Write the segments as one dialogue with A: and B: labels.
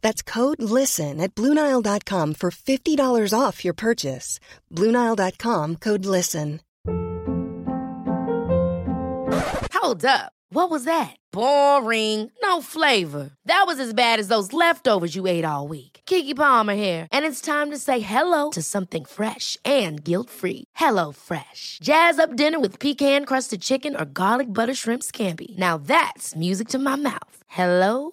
A: That's code LISTEN at Bluenile.com for $50 off your purchase. Bluenile.com code LISTEN.
B: Hold up. What was that? Boring. No flavor. That was as bad as those leftovers you ate all week. Kiki Palmer here, and it's time to say hello to something fresh and guilt-free. Hello Fresh. Jazz up dinner with pecan-crusted chicken or garlic butter shrimp scampi. Now that's music to my mouth. Hello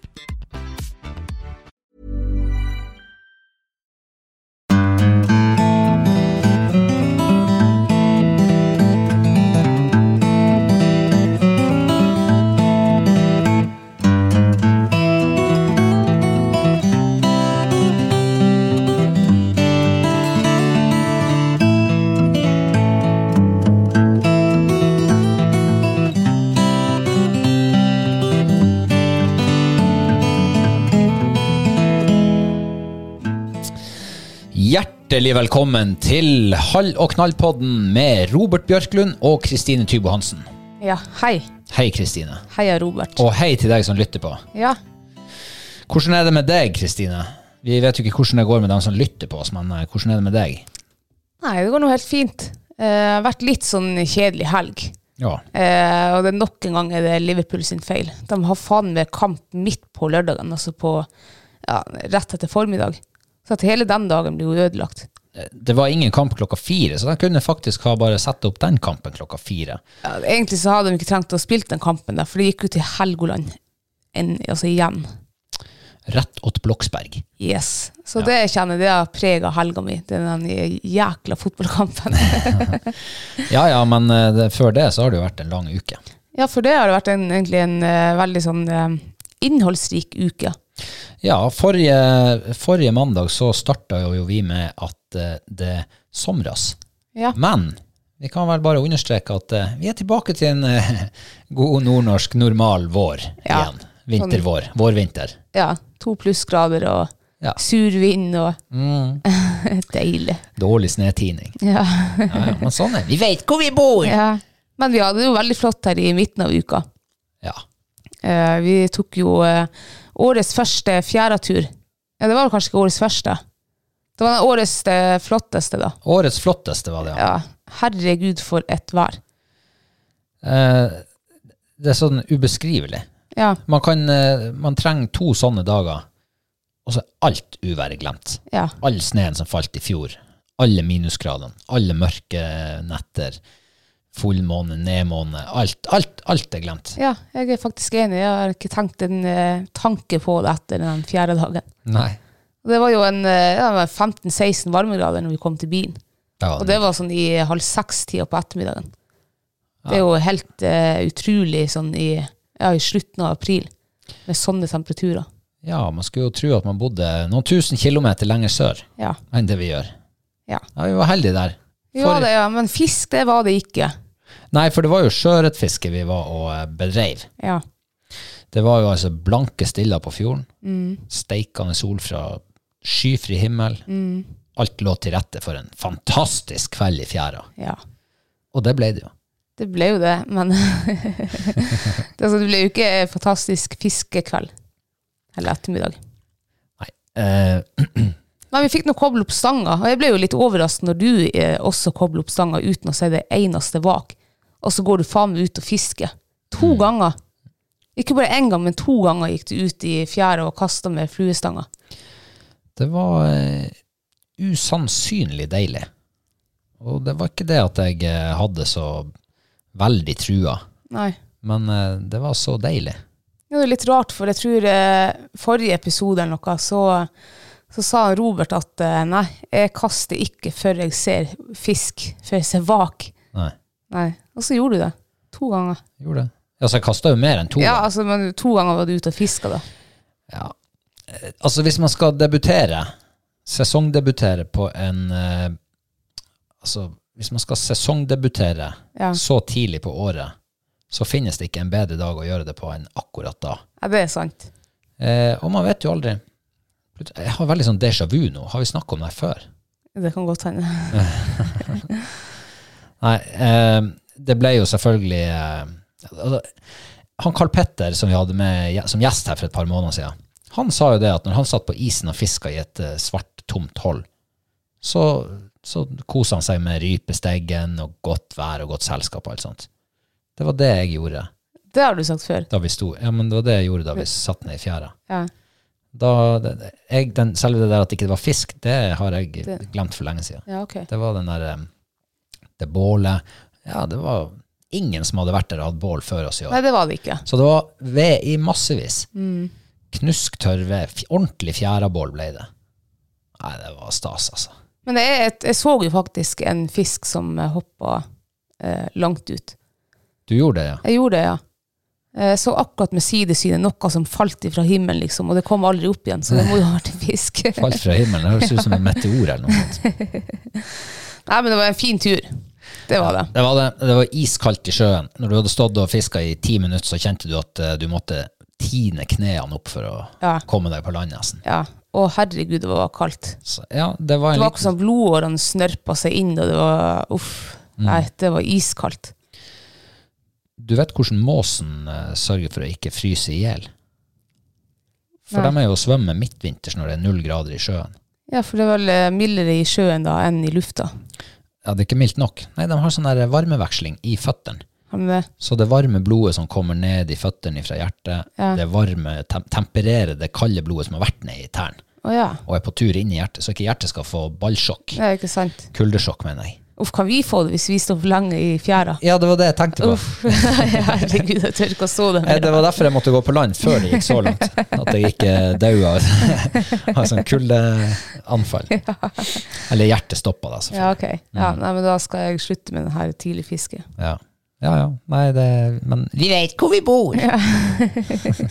C: Hjertelig velkommen til Hall og knall-podden med Robert Bjørklund og Kristine Tybo Hansen.
D: Ja, hei.
C: Hei, Kristine.
D: Heia Robert.
C: Og hei til deg som lytter på.
D: Ja.
C: Hvordan er det med deg, Kristine? Vi vet jo ikke hvordan det går med dem som lytter på oss, men eh, hvordan er det med deg?
D: Nei, det går nå helt fint. Eh, Det har vært litt sånn kjedelig helg.
C: Ja.
D: Eh, og det er nok en gang er det Liverpool sin feil. De har faen meg kamp midt på lørdagen, altså på ja, rett etter formiddag. Så at hele den dagen blir jo ødelagt.
C: Det var ingen kamp klokka fire, så de kunne faktisk ha bare satt opp den kampen klokka fire.
D: Ja, egentlig så hadde de ikke trengt å spille den kampen der, for de gikk ut til Helgoland en, altså igjen.
C: Rett åt Bloksberg.
D: Yes. Så det jeg kjenner det har prega helga mi, det er den jækla fotballkampen.
C: Ja ja, men eh, det, før det så har det jo vært en lang uke.
D: ja, for det har det vært en, egentlig en eh, veldig sånn eh, innholdsrik uke.
C: Ja, forrige, forrige mandag så starta jo vi med at eh, det somras.
D: Ja.
C: Men vi kan vel bare understreke at eh, vi er tilbake til en eh, god nordnorsk normal vår
D: Ja.
C: igjen. Vintervår. Vårvinter.
D: ja, to plussgrader og
C: Ja.
D: sur vind og Deilig.
C: Dårlig snøtining.
D: Ja.
C: Ja, ja, men sånn er Vi veit hvor vi bor! Ja.
D: ja. Men vi hadde det jo veldig flott her i midten av uka. Eh, vi tok jo eh, årets første fjæratur. Ja, det var vel kanskje ikke årets første. Det var den årets eh, flotteste, da.
C: Årets flotteste var det, ja.
D: Ja. Herregud, for et vær.
C: Eh, det er sånn ubeskrivelig.
D: Ja,
C: Man, kan, eh, man trenger to sånne dager, og så er alt uværet glemt.
D: ja.
C: All sneen som falt i fjor, alle minusgradene, alle mørke netter, fullmåne, nedmåne, alt, alt, alt er glemt.
D: ja jeg er faktisk enig. Jeg har ikke tenkt en eh, tanke på det etter den fjerde dagen.
C: Nei.
D: Og Det var jo en eh, ja, det var 15-16 varmegrader når vi kom til byen.
C: Ja,
D: Og det var sånn i halv seks-tida på ettermiddagen. Det er jo helt eh, utrolig sånn i, ja, i slutten av april, med sånne temperaturer.
C: ja, man skulle jo tro at man bodde noen tusen kilometer lenger sør
D: Ja.
C: enn det vi gjør.
D: Ja.
C: Ja, vi var heldige der.
D: Vi var det, ja, men fisk, det var det ikke.
C: Nei, for det var jo sjøørretfiske vi var og eh, bedreiv.
D: Ja.
C: Det var jo altså blanke stiller på fjorden,
D: Mm.
C: steikende sol fra skyfri himmel.
D: Mm.
C: Alt lå til rette for en fantastisk kveld i fjæra.
D: ja.
C: Og det ble det jo.
D: Det ble jo det, men det, altså, det ble jo ikke en fantastisk fiskekveld eller ettermiddag.
C: Nei. Eh,
D: Men vi fikk nå koble opp stanga, og jeg ble jo litt overrasket når du eh, også kobler opp stanga uten å si det eneste vak. Og så går du faen meg ut og fisker. To ganger. Ikke bare én gang, men to ganger gikk du ut i fjæra og kasta med fluestanga.
C: Det var eh, usannsynlig deilig. Og det var ikke det at jeg eh, hadde så veldig trua,
D: Nei.
C: men eh, det var så deilig.
D: Ja, Det er litt rart, for jeg tror eh, forrige episode eller noe, så, så sa han Robert at eh, nei, jeg kaster ikke før jeg ser fisk, før jeg ser vak.
C: Nei,
D: Nei. Og så gjorde du det. To ganger.
C: gjorde det. Altså, jeg kasta jo mer enn to.
D: Ja,
C: da.
D: altså, men to ganger var du ute og fiska, da.
C: Ja. Eh, Altså, hvis man skal debutere, sesongdebutere på en eh, Altså, hvis man skal sesongdebutere
D: Ja.
C: så tidlig på året, så finnes det ikke en bedre dag å gjøre det på enn akkurat da.
D: Ja, det er sant.
C: Eh, og man vet jo aldri. Plut- Jeg har veldig sånn déjà vu nå. Har vi snakka om det her før?
D: Det kan godt hende.
C: Nei, eh, det ble jo selvfølgelig eh, altså, Han Carl Petter som vi hadde med gje- som gjest her for et par måneder siden, han sa jo det at når han satt på isen og fiska i et eh, svart, tomt hull, så, så kosa han seg med rypesteggen og godt vær og godt selskap og alt sånt. Det var det jeg gjorde
D: Det har du sagt før.
C: da vi sto Ja, men det var det jeg gjorde da vi satt ned i fjæra.
D: Ja.
C: Da, det, det- jeg, den, selve det der at ikke det var fisk, det har jeg
D: Det-
C: glemt for lenge siden.
D: Ja, ok.
C: Det var den der eh, Det bålet Ja, det var ingen som hadde vært der og hatt bål før oss i år.
D: Nei, det var det Mm. ikke.
C: Så det var ved i massevis. Knusktørr ved. F- Ordentlig fjærabål ble det. Nei, det var stas, altså.
D: Men det er et, jeg så jo faktisk en fisk som hoppa eh, langt ut.
C: Du gjorde det, ja?
D: Jeg gjorde det, ja. Eh, Jeg så akkurat med sidesynet noe som falt ifra himmelen, liksom, og det kom aldri opp igjen, så det må jo ha vært en fisk.
C: Falt fra himmelen. Det høres ut som en meteor eller noe sånt.
D: Nei, men det var en fin tur. Det var det.
C: Det var, det, det var iskaldt i sjøen. Når du hadde stått og fiska i ti minutter, så kjente du at eh, du måtte tine knærne opp for å
D: Ja.
C: komme deg på land, nesten.
D: Ja. Å, herregud, det var kaldt.
C: Så, ja, det var en
D: Det var
C: liten
D: akkurat som blodårene snørpa seg inn, og det var uff. Nei, det var iskaldt.
C: du vet hvordan måsen eh, sørger for å ikke fryse i hjel? For
D: Nei.
C: de er jo å svømme midtvinters når det er null grader i sjøen.
D: Ja, for det er vel eh, mildere i sjøen da enn i lufta.
C: Ja, det er ikke mildt nok. Nei, de har sånn der varmeveksling i føttene.
D: Har du det?
C: Så det varme blodet som kommer ned i føttene fra hjertet,
D: Ja.
C: det varme, tem tempererer det kalde blodet som har vært ned i tærne,
D: Å ja.
C: og er på tur inn i hjertet, så ikke hjertet skal få ballsjokk.
D: Det er ikke sant.
C: Kuldesjokk, mener jeg.
D: Uff, kan vi få det hvis vi står for lenge i fjæra?
C: Ja, det var det jeg tenkte på.
D: Uff, nei, herregud, jeg tør ikke å stå der
C: Eh,
D: mer.
C: Det var derfor jeg måtte gå på land før det gikk så langt. At jeg ikke daua av sånn kuldeanfall. Eller hjertet stoppa, da. selvfølgelig.
D: Ja, ok. Ja, nei, men da skal jeg slutte med den her tidlig fiske.
C: Ja. ja, ja. Nei, det Men vi veit hvor vi bor!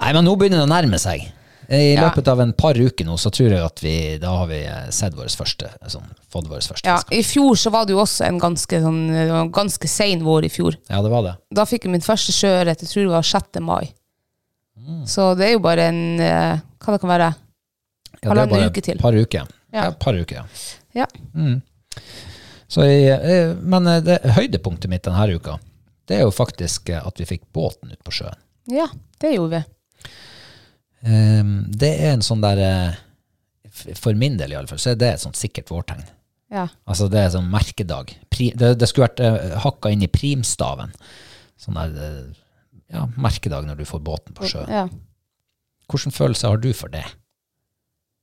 C: Nei, men nå begynner det å nærme seg. I
D: Ja.
C: løpet av en par uker nå, så tror jeg at vi da har vi eh, sett vår første, sånn, fått vår første
D: Ja,
C: fisk.
D: I fjor så var det jo også en ganske, sånn, det var en ganske sein vår i fjor.
C: Ja, det var det.
D: Da fikk jeg min første sjøørret, jeg tror det var 6. mai. Så det er jo bare en eh, Hva det kan være?
C: Ja, det er
D: Halvannen
C: bare
D: uke til.
C: et par uker.
D: Ja.
C: Ja, et par uker, ja. Mm.
D: Ja.
C: Så jeg, eh, men eh, det, høydepunktet mitt denne uka, det er jo faktisk eh, at vi fikk båten ut på sjøen.
D: ja, det gjorde vi.
C: Eh, Det er en sånn der eh, f- For min del, iallfall, så er det et sånt sikkert vårtegn.
D: Ja.
C: Altså det er sånn merkedag. Pri, det, det skulle vært eh, hakka inn i primstaven. Sånn der eh, ja, merkedag når du får båten på sjøen.
D: ja.
C: Hvilken følelse har du for det?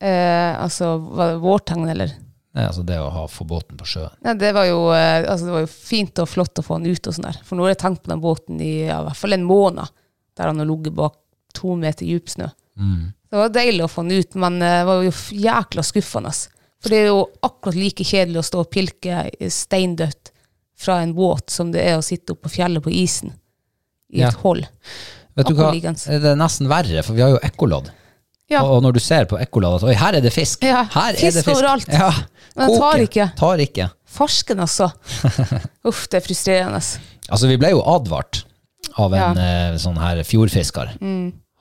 D: Eh, altså, var det vårtegn, eller?
C: Nei, altså det å ha, få båten på sjøen.
D: Ja, det, var jo, eh, altså, det var jo fint og flott å få han ut og sånn der. For nå har jeg tenkt på den båten i ja, i hvert fall en måned, der han har ligget bak to meter dyp snø.
C: Mm.
D: Det var deilig å få han ut, men eh, det var jo f- jækla skuffende. ass. For det er jo akkurat like kjedelig å stå og pilke i steindødt fra en båt som det er å sitte oppe på fjellet på isen i
C: Ja.
D: et hold.
C: Vet du hva? Eh,
D: Akkurat
C: Det er nesten verre, for vi har jo ekkolodd.
D: Ja.
C: Og, og når du ser på ekkolodd at oi, her er det fisk!
D: Ja,
C: her
D: fisk
C: er det fisk
D: overalt.
C: Ja.
D: Men det tar
C: Koker.
D: ikke.
C: Tar ikke.
D: Farsken, altså. Uff, det er frustrerende. ass.
C: Altså, vi ble jo advart av en
D: Ja. Mm.
C: eh, sånn her fjordfisker.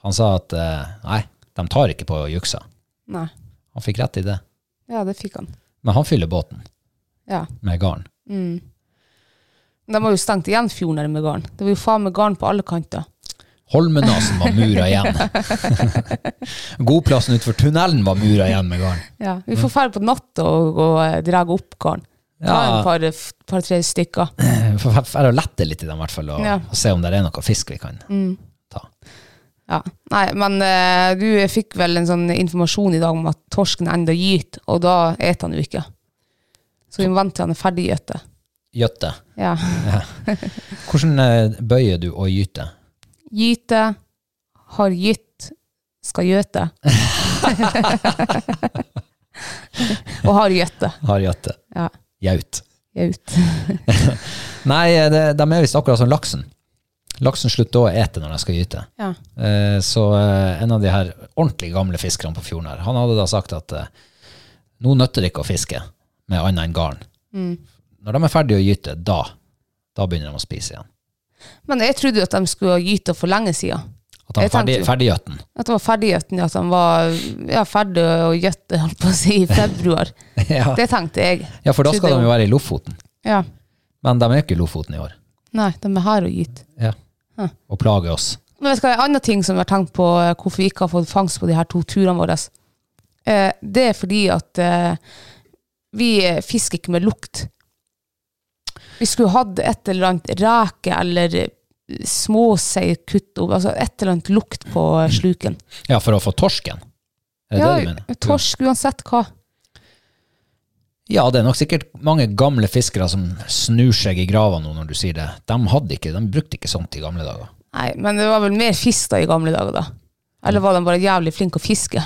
C: Han sa at eh, nei, de tar ikke på juksa.
D: Nei.
C: Han fikk rett i det.
D: Ja, det fikk han.
C: Men han fyller båten
D: Ja.
C: med garn.
D: De har jo stengt igjen fjorden her med garn. Det var jo faen meg garn på alle kanter.
C: Holmenasen var mura igjen. Godplassen utenfor tunnelen var mura igjen med garn.
D: Ja, vi får ferde på natta og, og eh, dra opp garn. Ta
C: Ja.
D: en par, par-tre stykker.
C: For for å lette litt i dem, i hvert fall, og,
D: Ja. Mm.
C: og se om det er noe fisk vi kan ta.
D: Ja. Nei, men eh, du fikk vel en sånn informasjon i dag om at torsken enda gyter, og da eter han jo ikke. Så vi må vente til han er ferdig gytet.
C: Gjøtte.
D: Ja.
C: Hvordan eh, bøyer du og gyter?
D: Gyte, har gytt, skal gjøte. og har gjøtte.
C: Har gjøtte.
D: Ja,
C: Gjaut.
D: gjøt.
C: Nei, eh, det, de er visst akkurat som laksen. Laksen slutter å ete når den skal gyte.
D: Ja.
C: Eh, Så eh, en av de her ordentlig gamle fiskerne på fjorden her, han hadde da sagt at eh, nå nøtter det ikke å fiske med annet enn garn.
D: Mm.
C: Når de er ferdige å gyte, da, da begynner de å spise igjen.
D: Men jeg trodde jo at de skulle gyte for lenge siden.
C: At de er
D: Jeg
C: ferdig,
D: tenkte jo-
C: ferdiggjøten.
D: At det var ferdiggjøtten, at han var ja, ferdig å gjøtte, holdt på å si, i februar.
C: ja.
D: Det tenkte jeg.
C: ja, for da skal
D: Trodde
C: de
D: jeg.
C: jo være i Lofoten.
D: Ja.
C: Men de er jo ikke i Lofoten i år.
D: Nei, de er her og gyter.
C: Ja.
D: Hm.
C: Og plager oss.
D: Men vet du hva, en annen ting som jeg har tenkt på, eh, hvorfor vi ikke har fått fangst på de her to turene våre, eh, det er fordi at eh, vi eh, fisker ikke med lukt. Vi skulle hatt et eller annet reke eller eh, småsei kutt opp, altså et eller annet lukt på eh, sluken.
C: Ja, for å få torsken. Er det det du mener?
D: torsk uansett hva.
C: Ja, det er nok sikkert mange gamle fiskere som snur seg i grava nå når du sier det. De hadde ikke, de brukte ikke sånt i gamle dager.
D: Nei, men det var vel mer fisk da i gamle dager, da. Eller var de bare jævlig flinke å fiske?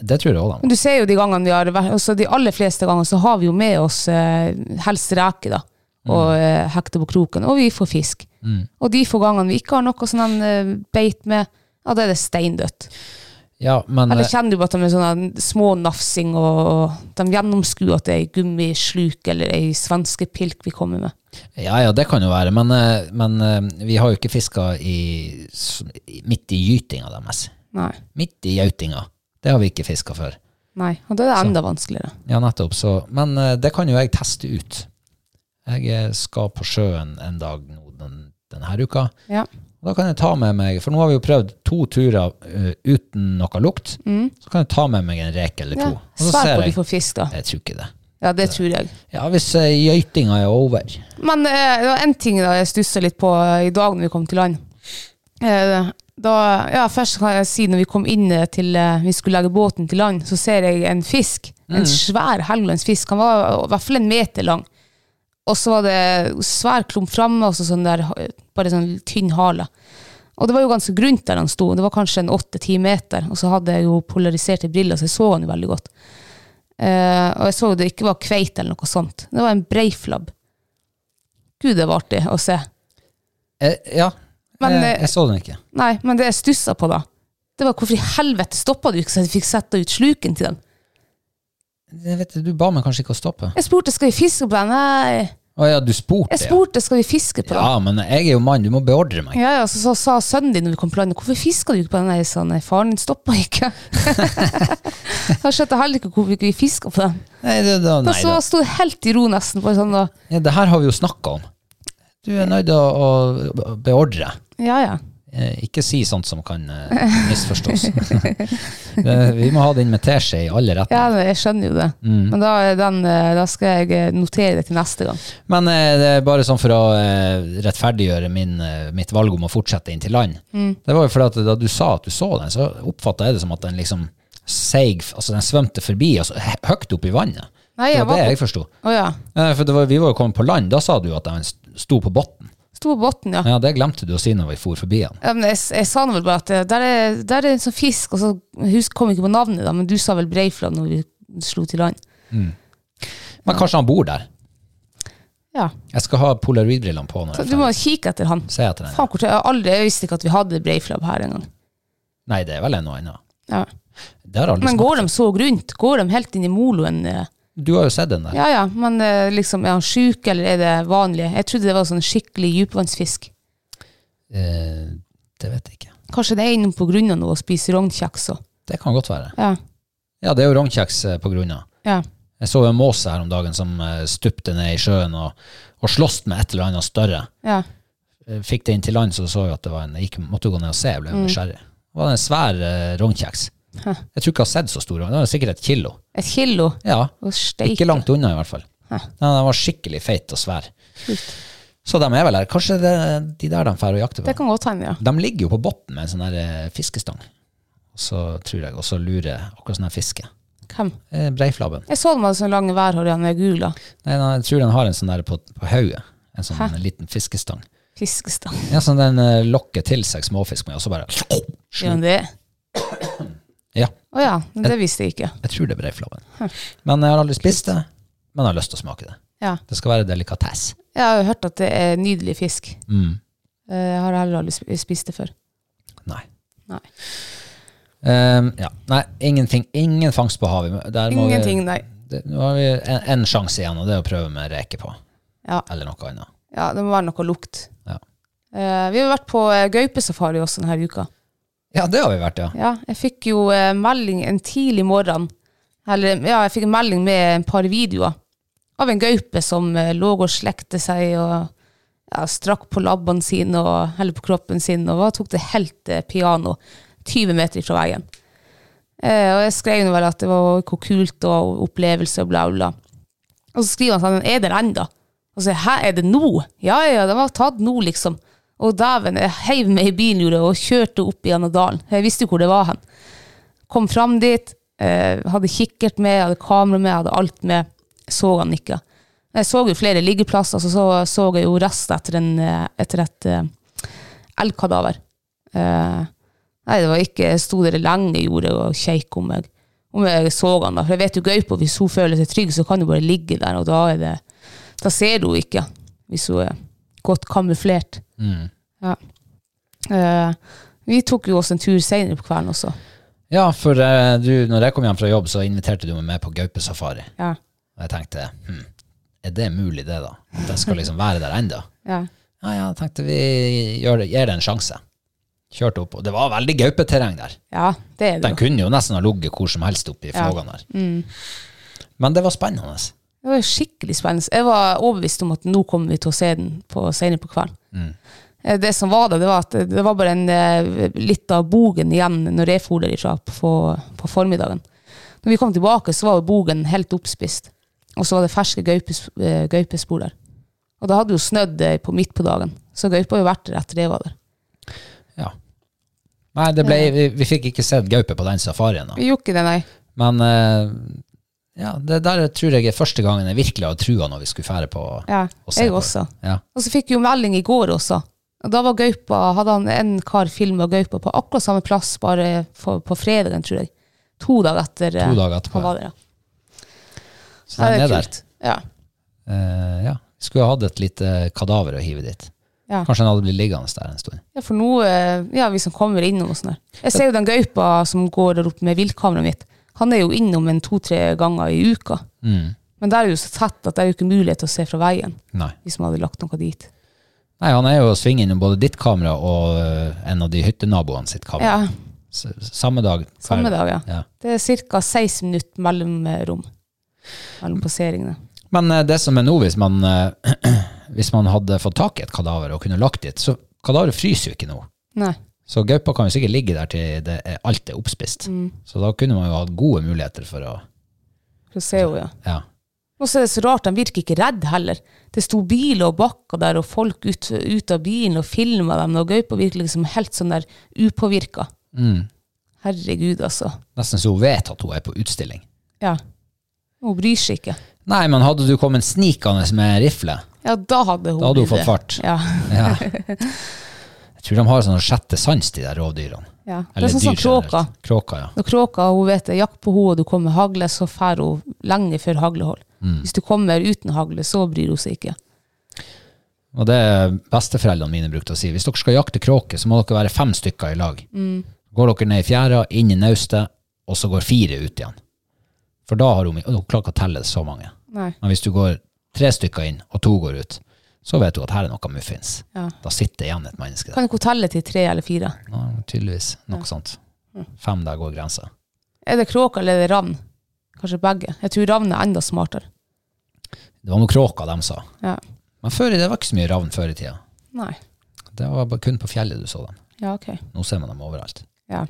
C: Det tror jeg òg de
D: Men du ser jo de gangene vi har vært, altså de aller fleste ganger så har vi jo med oss eh, helst reke, da.
C: Mm.
D: Og eh, hekte på kroken. Og vi får fisk. Og de få gangene vi ikke har noe sånn eh, beit med, ja, da er det steindødt.
C: Ja, men
D: Eller
C: eh,
D: kjenner du bare at de er sånne små nafsing, og, og de gjennomskuer at det er ei gummisluk eller ei svenske pilk vi kommer med.
C: ja, ja, det kan jo være. Men, eh, men eh, vi har jo ikke fiska i, s- i- midt i gytinga deres.
D: Nei.
C: Midt i gautinga. Det har vi ikke fiska før.
D: Nei. Og da er det enda vanskeligere.
C: Ja, nettopp. Så, men eh, det kan jo jeg teste ut. Jeg eh, skal på sjøen en dag nå den, denne uka.
D: Ja.
C: Og da kan jeg ta med meg, for nå har vi jo prøvd to turer eh, uten noe lukt, så kan jeg ta med meg en reke eller
D: Mm. ja.
C: to. Og så
D: Svar
C: ser
D: på de
C: jeg,
D: får fisk, da.
C: jeg tror ikke det.
D: Ja, det tror jeg.
C: Ja, hvis eh, gøytinga er over.
D: Men eh, det var en ting da jeg stussa litt på eh, i dag når vi kom til land. Eh, da, ja, først kan jeg si når vi kom inn eh, til eh, vi skulle legge båten til land, så ser jeg en fisk. En svær helgelandsfisk. Han var eh, i hvert fall en meter lang. Og så var det svær klump framme, og så sånn der, eh, bare sånn tynn hale. Og det var jo ganske grunt der han sto. Det var kanskje en åtte-ti meter. Og så hadde jeg jo polariserte briller, så jeg så han jo veldig godt. Eh, og jeg så jo det ikke var kveit eller noe sånt. Det var en breiflabb. Gud, det var artig å se.
C: Eh, ja,
D: Men,
C: jeg,
D: eh,
C: jeg så den ikke.
D: Nei, men det jeg stussa på, da, det var hvorfor i helvete stoppa du ikke så jeg fikk sette ut sluken til den?
C: Jeg Eh, vet, du ba meg kanskje ikke å stoppe.
D: Jeg spurte skal vi fiske på den. Nei.
C: Å ja, du spurte,
D: Jeg spurte skal vi fiske på
C: ja.
D: den.
C: Ja, men jeg er jo mann, du må beordre meg.
D: Ja, ja, så, så sa sønnen din når vi kom på landet, hvorfor fiska du ikke på den? Nei, Jeg sa nei, faren din stoppa ikke. da skjønte jeg heller ikke hvorfor ikke vi fiska på den.
C: Nei, det, da,
D: Da
C: nei,
D: så
C: da.
D: sto jeg helt i ro nesten, bare sånn da,
C: Ja, det her har vi jo snakka om. Du er nødt til å, å beordre.
D: ja ja.
C: Eh, ikke si sånt som kan eh, misforstås. Eh, vi må ha det inn med teskje i alle retninger.
D: Ja, jeg skjønner jo det.
C: Mm.
D: Men da, er den, eh, da skal jeg eh, notere det til neste gang.
C: Men eh, det er bare sånn for å eh, rettferdiggjøre min, eh, mitt valg om å fortsette inn til land.
D: Mm.
C: Det var jo fordi at da du sa at du så den, så oppfatta jeg det som at den liksom seig Altså den svømte forbi, altså hø- høyt opp i vannet.
D: Nei,
C: det
D: jeg
C: var
D: var
C: det
D: på-
C: jeg forsto.
D: Å ja.
C: Eh, For det var, vi var jo kommet på land, da sa du jo at den sto på bunnen.
D: Sto på båten, ja.
C: Ja, det glemte du å si når vi for forbi den.
D: Ja, men jeg, jeg sa nå vel bare at eh, der er, der er en sånn fisk, og så husk, kom jeg ikke på navnet, da, men du sa vel Breiflabb når vi slo til land.
C: Men kanskje han bor der.
D: Ja.
C: Jeg skal ha polaroidbrillene på når
D: Så
C: jeg
D: du
C: er
D: må
C: ferdig.
D: kikke etter han.
C: Se etter den.
D: Faen, hvor jeg, har aldri, jeg visste ikke at vi hadde Breiflabb her engang.
C: Nei, det er vel ennå ennå.
D: Ja.
C: Det har aldri
D: Men går de så grunt? Går de helt inn i moloen? eh?
C: Du har jo sett den der.
D: Ja ja, men eh, liksom, er han sjuk, eller er det vanlig? Jeg trodde det var sånn skikkelig dypvannsfisk.
C: Eh, det vet jeg ikke.
D: Kanskje det er innom på grunn av noe og spiser rognkjeks og
C: Det kan godt være.
D: Ja.
C: Ja, det er jo rognkjeks eh, på grunn av.
D: ja.
C: Jeg så jo en måse her om dagen som eh, stupte ned i sjøen og, og sloss med et eller annet større.
D: Ja.
C: Eh, Fikk det inn til land, så så jeg at det var en Jeg gikk, måtte jo gå ned og se, jeg ble nysgjerrig. Det var en svær eh, rognkjeks.
D: Mm. Hæ.
C: Jeg tror ikke jeg har sett så stor. Det var sikkert et kilo.
D: Et kilo?
C: Ja,
D: Og steik.
C: ikke langt unna i hvert fall.
D: Hæ.
C: Nei, de var skikkelig feit og svær. Så de er vel her. Kanskje det er de der de drar og jakter
D: Det
C: på.
D: kan godt hende, ja.
C: De ligger jo på bunnen med en sånn der eh, fiskestang. Og så tror jeg, og så lurer akkurat sånn her fiske.
D: Hvem?
C: Eh, Breiflabben.
D: Jeg så dem hadde sånn lang værhår i han med gula.
C: Nei, nei, jeg tror den har en sånn der på, på hauget. En sånn
D: Hæ?
C: liten fiskestang.
D: Fiskestang.
C: Ja, sånn den eh, lokker til seg småfisk med, og så bare
D: Gjør han det?
C: Ja,
D: Å ja, men det visste jeg ikke.
C: jeg tror det er breiflabben. Men jeg har aldri spist det, men jeg har lyst til å smake det.
D: Ja.
C: Det skal være delikatesse.
D: Jeg har jo hørt at det er nydelig fisk.
C: Mm.
D: Eh, Jeg har heller aldri sp- spist det før.
C: Nei.
D: Nei.
C: Ehm, ja. Nei, ingenting. Ingen fangst på havet. Der må
D: Ingenting, nei.
C: Vi, det, nå har vi en, en sjanse igjen, og det er å prøve med reke på.
D: Ja.
C: Eller noe annet.
D: Ja, det må være noe lukt.
C: Ja.
D: Eh, vi har vært på eh, gaupesafari også denne uka.
C: ja, det har vi vært, ja.
D: Ja, jeg fikk jo eh, melding en tidlig morgen. Eller, ja, jeg fikk en melding med et par videoer av en gaupe som eh, lå og slekte seg og ja, strakk på labbene sine og eller på kroppen sin og tok det helt eh, piano 20 meter fra veien. Eh, og jeg skrev nå vel at det var hvor kult og opplevelse og bla, bla. Og så skriver han sånn, er den enda? Og så sier jeg, hæ, er det nå? Ja, ja, den var tatt nå, liksom. Og dæven, jeg heiv meg i bilen gjorde, jeg, og kjørte opp gjennom dalen. Jeg visste jo hvor det var hen. Kom fram dit, eh, hadde kikkert med, hadde kamera med, hadde alt med. Så han ikke. Jeg så jo flere liggeplasser, så så, så jeg jo resten etter, en, eh, etter et eh, elgkadaver. Eh, nei, det var ikke, jeg sto der lenge i jordet og kjekk om jeg, om jeg så han da. For jeg vet jo gaupa, hvis hun føler seg trygg, så kan hun bare ligge der, og da er det, da ser hun ikke, hvis hun er godt kamuflert.
C: Mm.
D: Ja. Eh, vi tok jo oss en tur senere på kvelden også.
C: Ja, for eh, du, når jeg kom hjem fra jobb, så inviterte du meg med på gaupesafari.
D: Ja.
C: Og jeg tenkte, hm, er det mulig det da? At jeg skal liksom være der enda?
D: Ja.
C: Ja, ja, tenkte vi gjør det, gir det en sjanse. Kjørte opp, og det var veldig gaupeterreng der.
D: ja, det er det.
C: Den
D: jo.
C: kunne jo nesten ha ligget hvor som helst oppi
D: Ja. Mm.
C: flågene der. Men det var spennende.
D: Det var skikkelig spennende. Jeg var overbevist om at nå kommer vi til å se den på, senere på kvelden.
C: Mm.
D: Eh, Det som var da, det var at det var bare en, eh, litt av bogen igjen når jeg for derifra på, på formiddagen. Når vi kom tilbake, så var jo bogen helt oppspist. Og så var det ferske gaupes, eh, gaupespor der. Og det hadde jo snødd eh, på midt på dagen, så gaupa har jo vært der etter jeg var der.
C: Ja. Nei, det ble, vi, vi fikk ikke sett gaupe på den safarien. Da.
D: Vi gjorde ikke det, nei.
C: Men eh, ja, det der tror jeg er første gangen jeg virkelig har trua når vi skulle fære på
D: Ja,
C: og se
D: jeg
C: på.
D: også.
C: Ja.
D: Og så fikk vi jo melding i går også. Og da var gaupa, hadde han en kar filma gaupa på akkurat samme plass, bare for, på fredagen, tror jeg. To dager etter eh,
C: To dager etterpå,
D: han var der. Ja.
C: Så den
D: Ja,
C: er
D: det er
C: der.
D: kult. Ja.
C: Eh, ja. Skulle ha hatt et lite kadaver å hive dit.
D: Ja.
C: Kanskje den hadde blitt liggende der en stund.
D: ja, for nå, eh, ja, vi som kommer innom og sånn der. Jeg ser jo den gaupa som går der oppe med viltkameraet mitt, han er jo innom en to-tre ganger i uka.
C: Mm.
D: Men der er jo så tett at det er jo ikke mulighet til å se fra veien,
C: Nei.
D: hvis man hadde lagt noe dit.
C: Nei, han er jo å svinge innom både ditt kamera og eh, en av de hyttenaboene sitt kamera.
D: Ja,
C: S samme dag. hver-
D: samme dag, ja.
C: Ja.
D: Det er ca. 16 minutter mellom eh, rom. Mellom passeringene.
C: Men eh, det som er nå, hvis man, eh, hvis man hadde fått tak i et kadaver og kunne lagt dit, så kadaveret fryser jo ikke nå.
D: Nei.
C: Så gaupa kan jo sikkert ligge der til det er, alt er oppspist.
D: Mm.
C: Så da kunne man jo hatt gode muligheter for å
D: Så ser hun, ja.
C: Ja.
D: Og så er det så rart, de virker ikke redd heller. Det sto biler og bakker der, og folk ut, ut av bilen og filma dem, og gaupa virker liksom helt sånn der upåvirka.
C: Mm.
D: Herregud, altså.
C: Nesten så hun vet at hun er på utstilling.
D: Ja. Hun bryr seg ikke.
C: Nei, men hadde du kommet snikende med rifle,
D: Ja, da hadde hun
C: da hadde hun
D: blitt
C: fått fart.
D: det. Ja.
C: Ja. Jeg tror de har sånn sjette sans, de der rovdyrene.
D: ja. Det
C: Eller
D: er sånn som
C: dyr generelt.
D: kråka.
C: Kråka, ja.
D: Når kråka hun vet det, jakt på henne, og du kommer med hagle, så drar hun lenge før haglehold.
C: Mm.
D: Hvis du kommer uten hagle, så bryr hun seg ikke.
C: Og det besteforeldrene mine brukte å si. Hvis dere skal jakte kråke, så må dere være fem stykker i lag.
D: Mm.
C: Går dere ned i fjæra, inn i naustet, og så går fire ut igjen. For da har hun, og hun klarer ikke å telle så mange.
D: Nei.
C: Men hvis du går tre stykker inn, og to går ut, så vet hun at her er noe muffins.
D: Ja.
C: Da sitter det igjen et menneske der.
D: Kan ikke hun telle til tre eller fire?
C: Ja, tydeligvis. Noe sånt. Fem der går grensa.
D: Er det kråka eller er det ravn? Kanskje begge. Jeg tror ravn er enda smartere.
C: Det var noe kråka de sa.
D: Ja.
C: Men før, i- det var ikke så mye ravn før i tida.
D: Nei.
C: Det var bare kun på fjellet du så dem.
D: Ja, ok.
C: Nå ser man dem overalt.
D: Ja.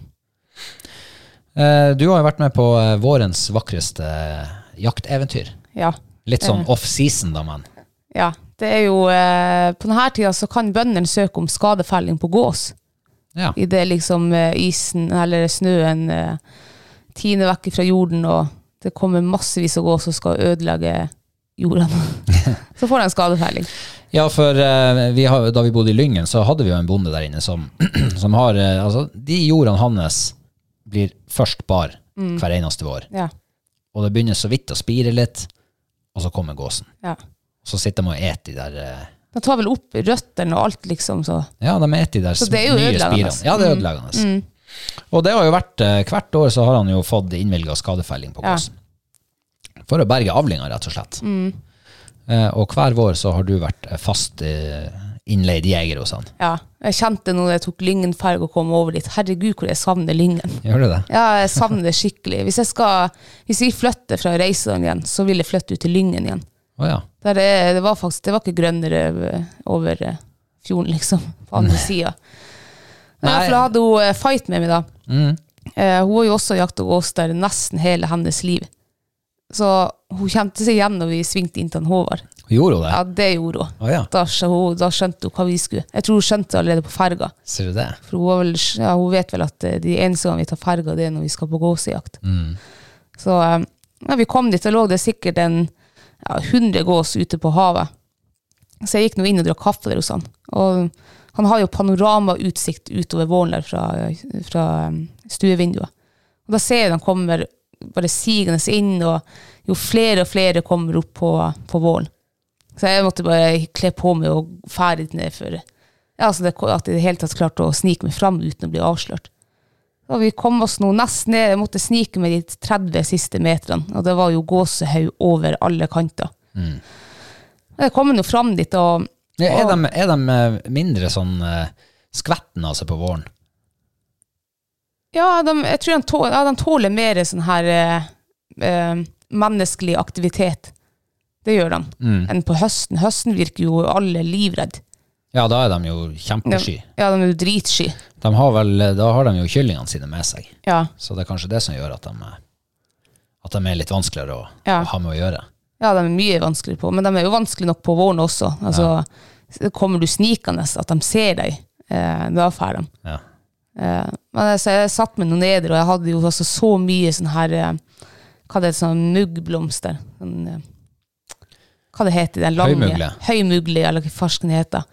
C: Eh, Du har jo vært med på eh, vårens vakreste eh, jakteventyr.
D: ja.
C: Litt sånn off-season, da, men.
D: Ja, det er jo eh, På denne tida så kan bøndene søke om skadefelling på gås.
C: Ja.
D: I det liksom eh, isen eller snøen eh, tiner vekk fra jorden, og det kommer massevis av gås som skal ødelegge jorda. så får de en skadefelling.
C: Ja, for eh, vi har, da vi bodde i Lyngen, så hadde vi jo en bonde der inne som, som har eh, Altså, de jordene hans blir først bar hver eneste vår.
D: Ja.
C: Og det begynner så vidt å spire litt, og så kommer gåsen.
D: ja.
C: Så sitter de og eter de der eh,
D: De tar vel opp røttene og alt, liksom. Så.
C: Ja, de eter de der
D: Så det er jo
C: nye
D: ødeleggende. Mm.
C: spirene. Ja, det er ødeleggende. Og det har jo vært eh, Hvert år så har han jo fått innvilga skadefelling på
D: Ja.
C: gåsen. For å berge avlinga, rett og slett.
D: Mm.
C: Eh, og hver vår så har du vært eh, fast eh, innleid jeger hos han.
D: Ja. Jeg kjente nå da jeg tok Lyngen ferg og kom over dit. Herregud, hvor jeg savner Lyngen.
C: Gjør du det?
D: Ja, jeg savner det skikkelig. Hvis jeg skal, hvis vi flytter fra Reisedalen igjen, så vil jeg flytte ut til Lyngen igjen.
C: Å ja.
D: Der det, det var faktisk, det var ikke grønnere over- over eh, fjorden, liksom, på andre sida.
C: Nei.
D: For da hadde hun eh, fight med meg, da.
C: Mm.
D: Eh, hun har jo også jakta gås der nesten hele hennes liv. Så hun kjente seg igjen når vi svingte inn til han Håvard.
C: Gjorde hun det?
D: Ja, det gjorde hun.
C: Å ja.
D: Da, skjø- hun. da skjønte hun hva vi skulle. Jeg tror hun skjønte det allerede på ferga.
C: Ser du det?
D: For hun, var vel, ja, hun vet vel at eh, de eneste gangene vi tar ferga, det er når vi skal på gåsejakt. Så eh, ja, vi kom dit, og lå det sikkert en ja, 100 gås ute på havet. Så jeg gikk nå inn og drakk kaffe der hos han. Og han har jo panoramautsikt utover våren der fra, fra eh, stuevinduet. Og da ser jeg de kommer bare sigende inn, og jo flere og flere kommer opp på, på våren. Så jeg måtte bare kle på meg og fære litt ned for ja, altså det, at jeg i det hele tatt klarte å snike meg fram uten å bli avslørt. Og vi kom oss nå nesten ned, jeg måtte snike meg de 30 siste meterne, og det var jo gåsehaug over alle kanter. Jeg kom nå fram dit, og
C: Ja, er, de, er de eh, mindre sånn eh, skvetten av seg på våren?
D: ja, de, jeg tror de tåler, ja, de tåler mer sånn her eh, eh, menneskelig aktivitet. Det gjør de. Enn på høsten. Høsten virker jo alle livredd.
C: Ja, da er de jo kjempesky.
D: Ja, de er jo dritsky.
C: De har vel, eh, da har de jo kyllingene sine med seg,
D: Ja.
C: så det er kanskje det som gjør at de, eh, at de er litt vanskeligere å,
D: Ja.
C: å ha med å gjøre.
D: Ja, de er mye vanskeligere på, men de er jo vanskelig nok på våren også. Altså, Kommer du snikende, at de ser deg, eh, da får de.
C: Ja.
D: Eh, men jeg, så jeg satt med noen neder, og jeg hadde jo altså så mye sånn her eh, Hva det er sånn muggblomster? Sånn, eh, hva det heter den lange?
C: Høymugle.
D: Høymugle, eller hva farsken det heter.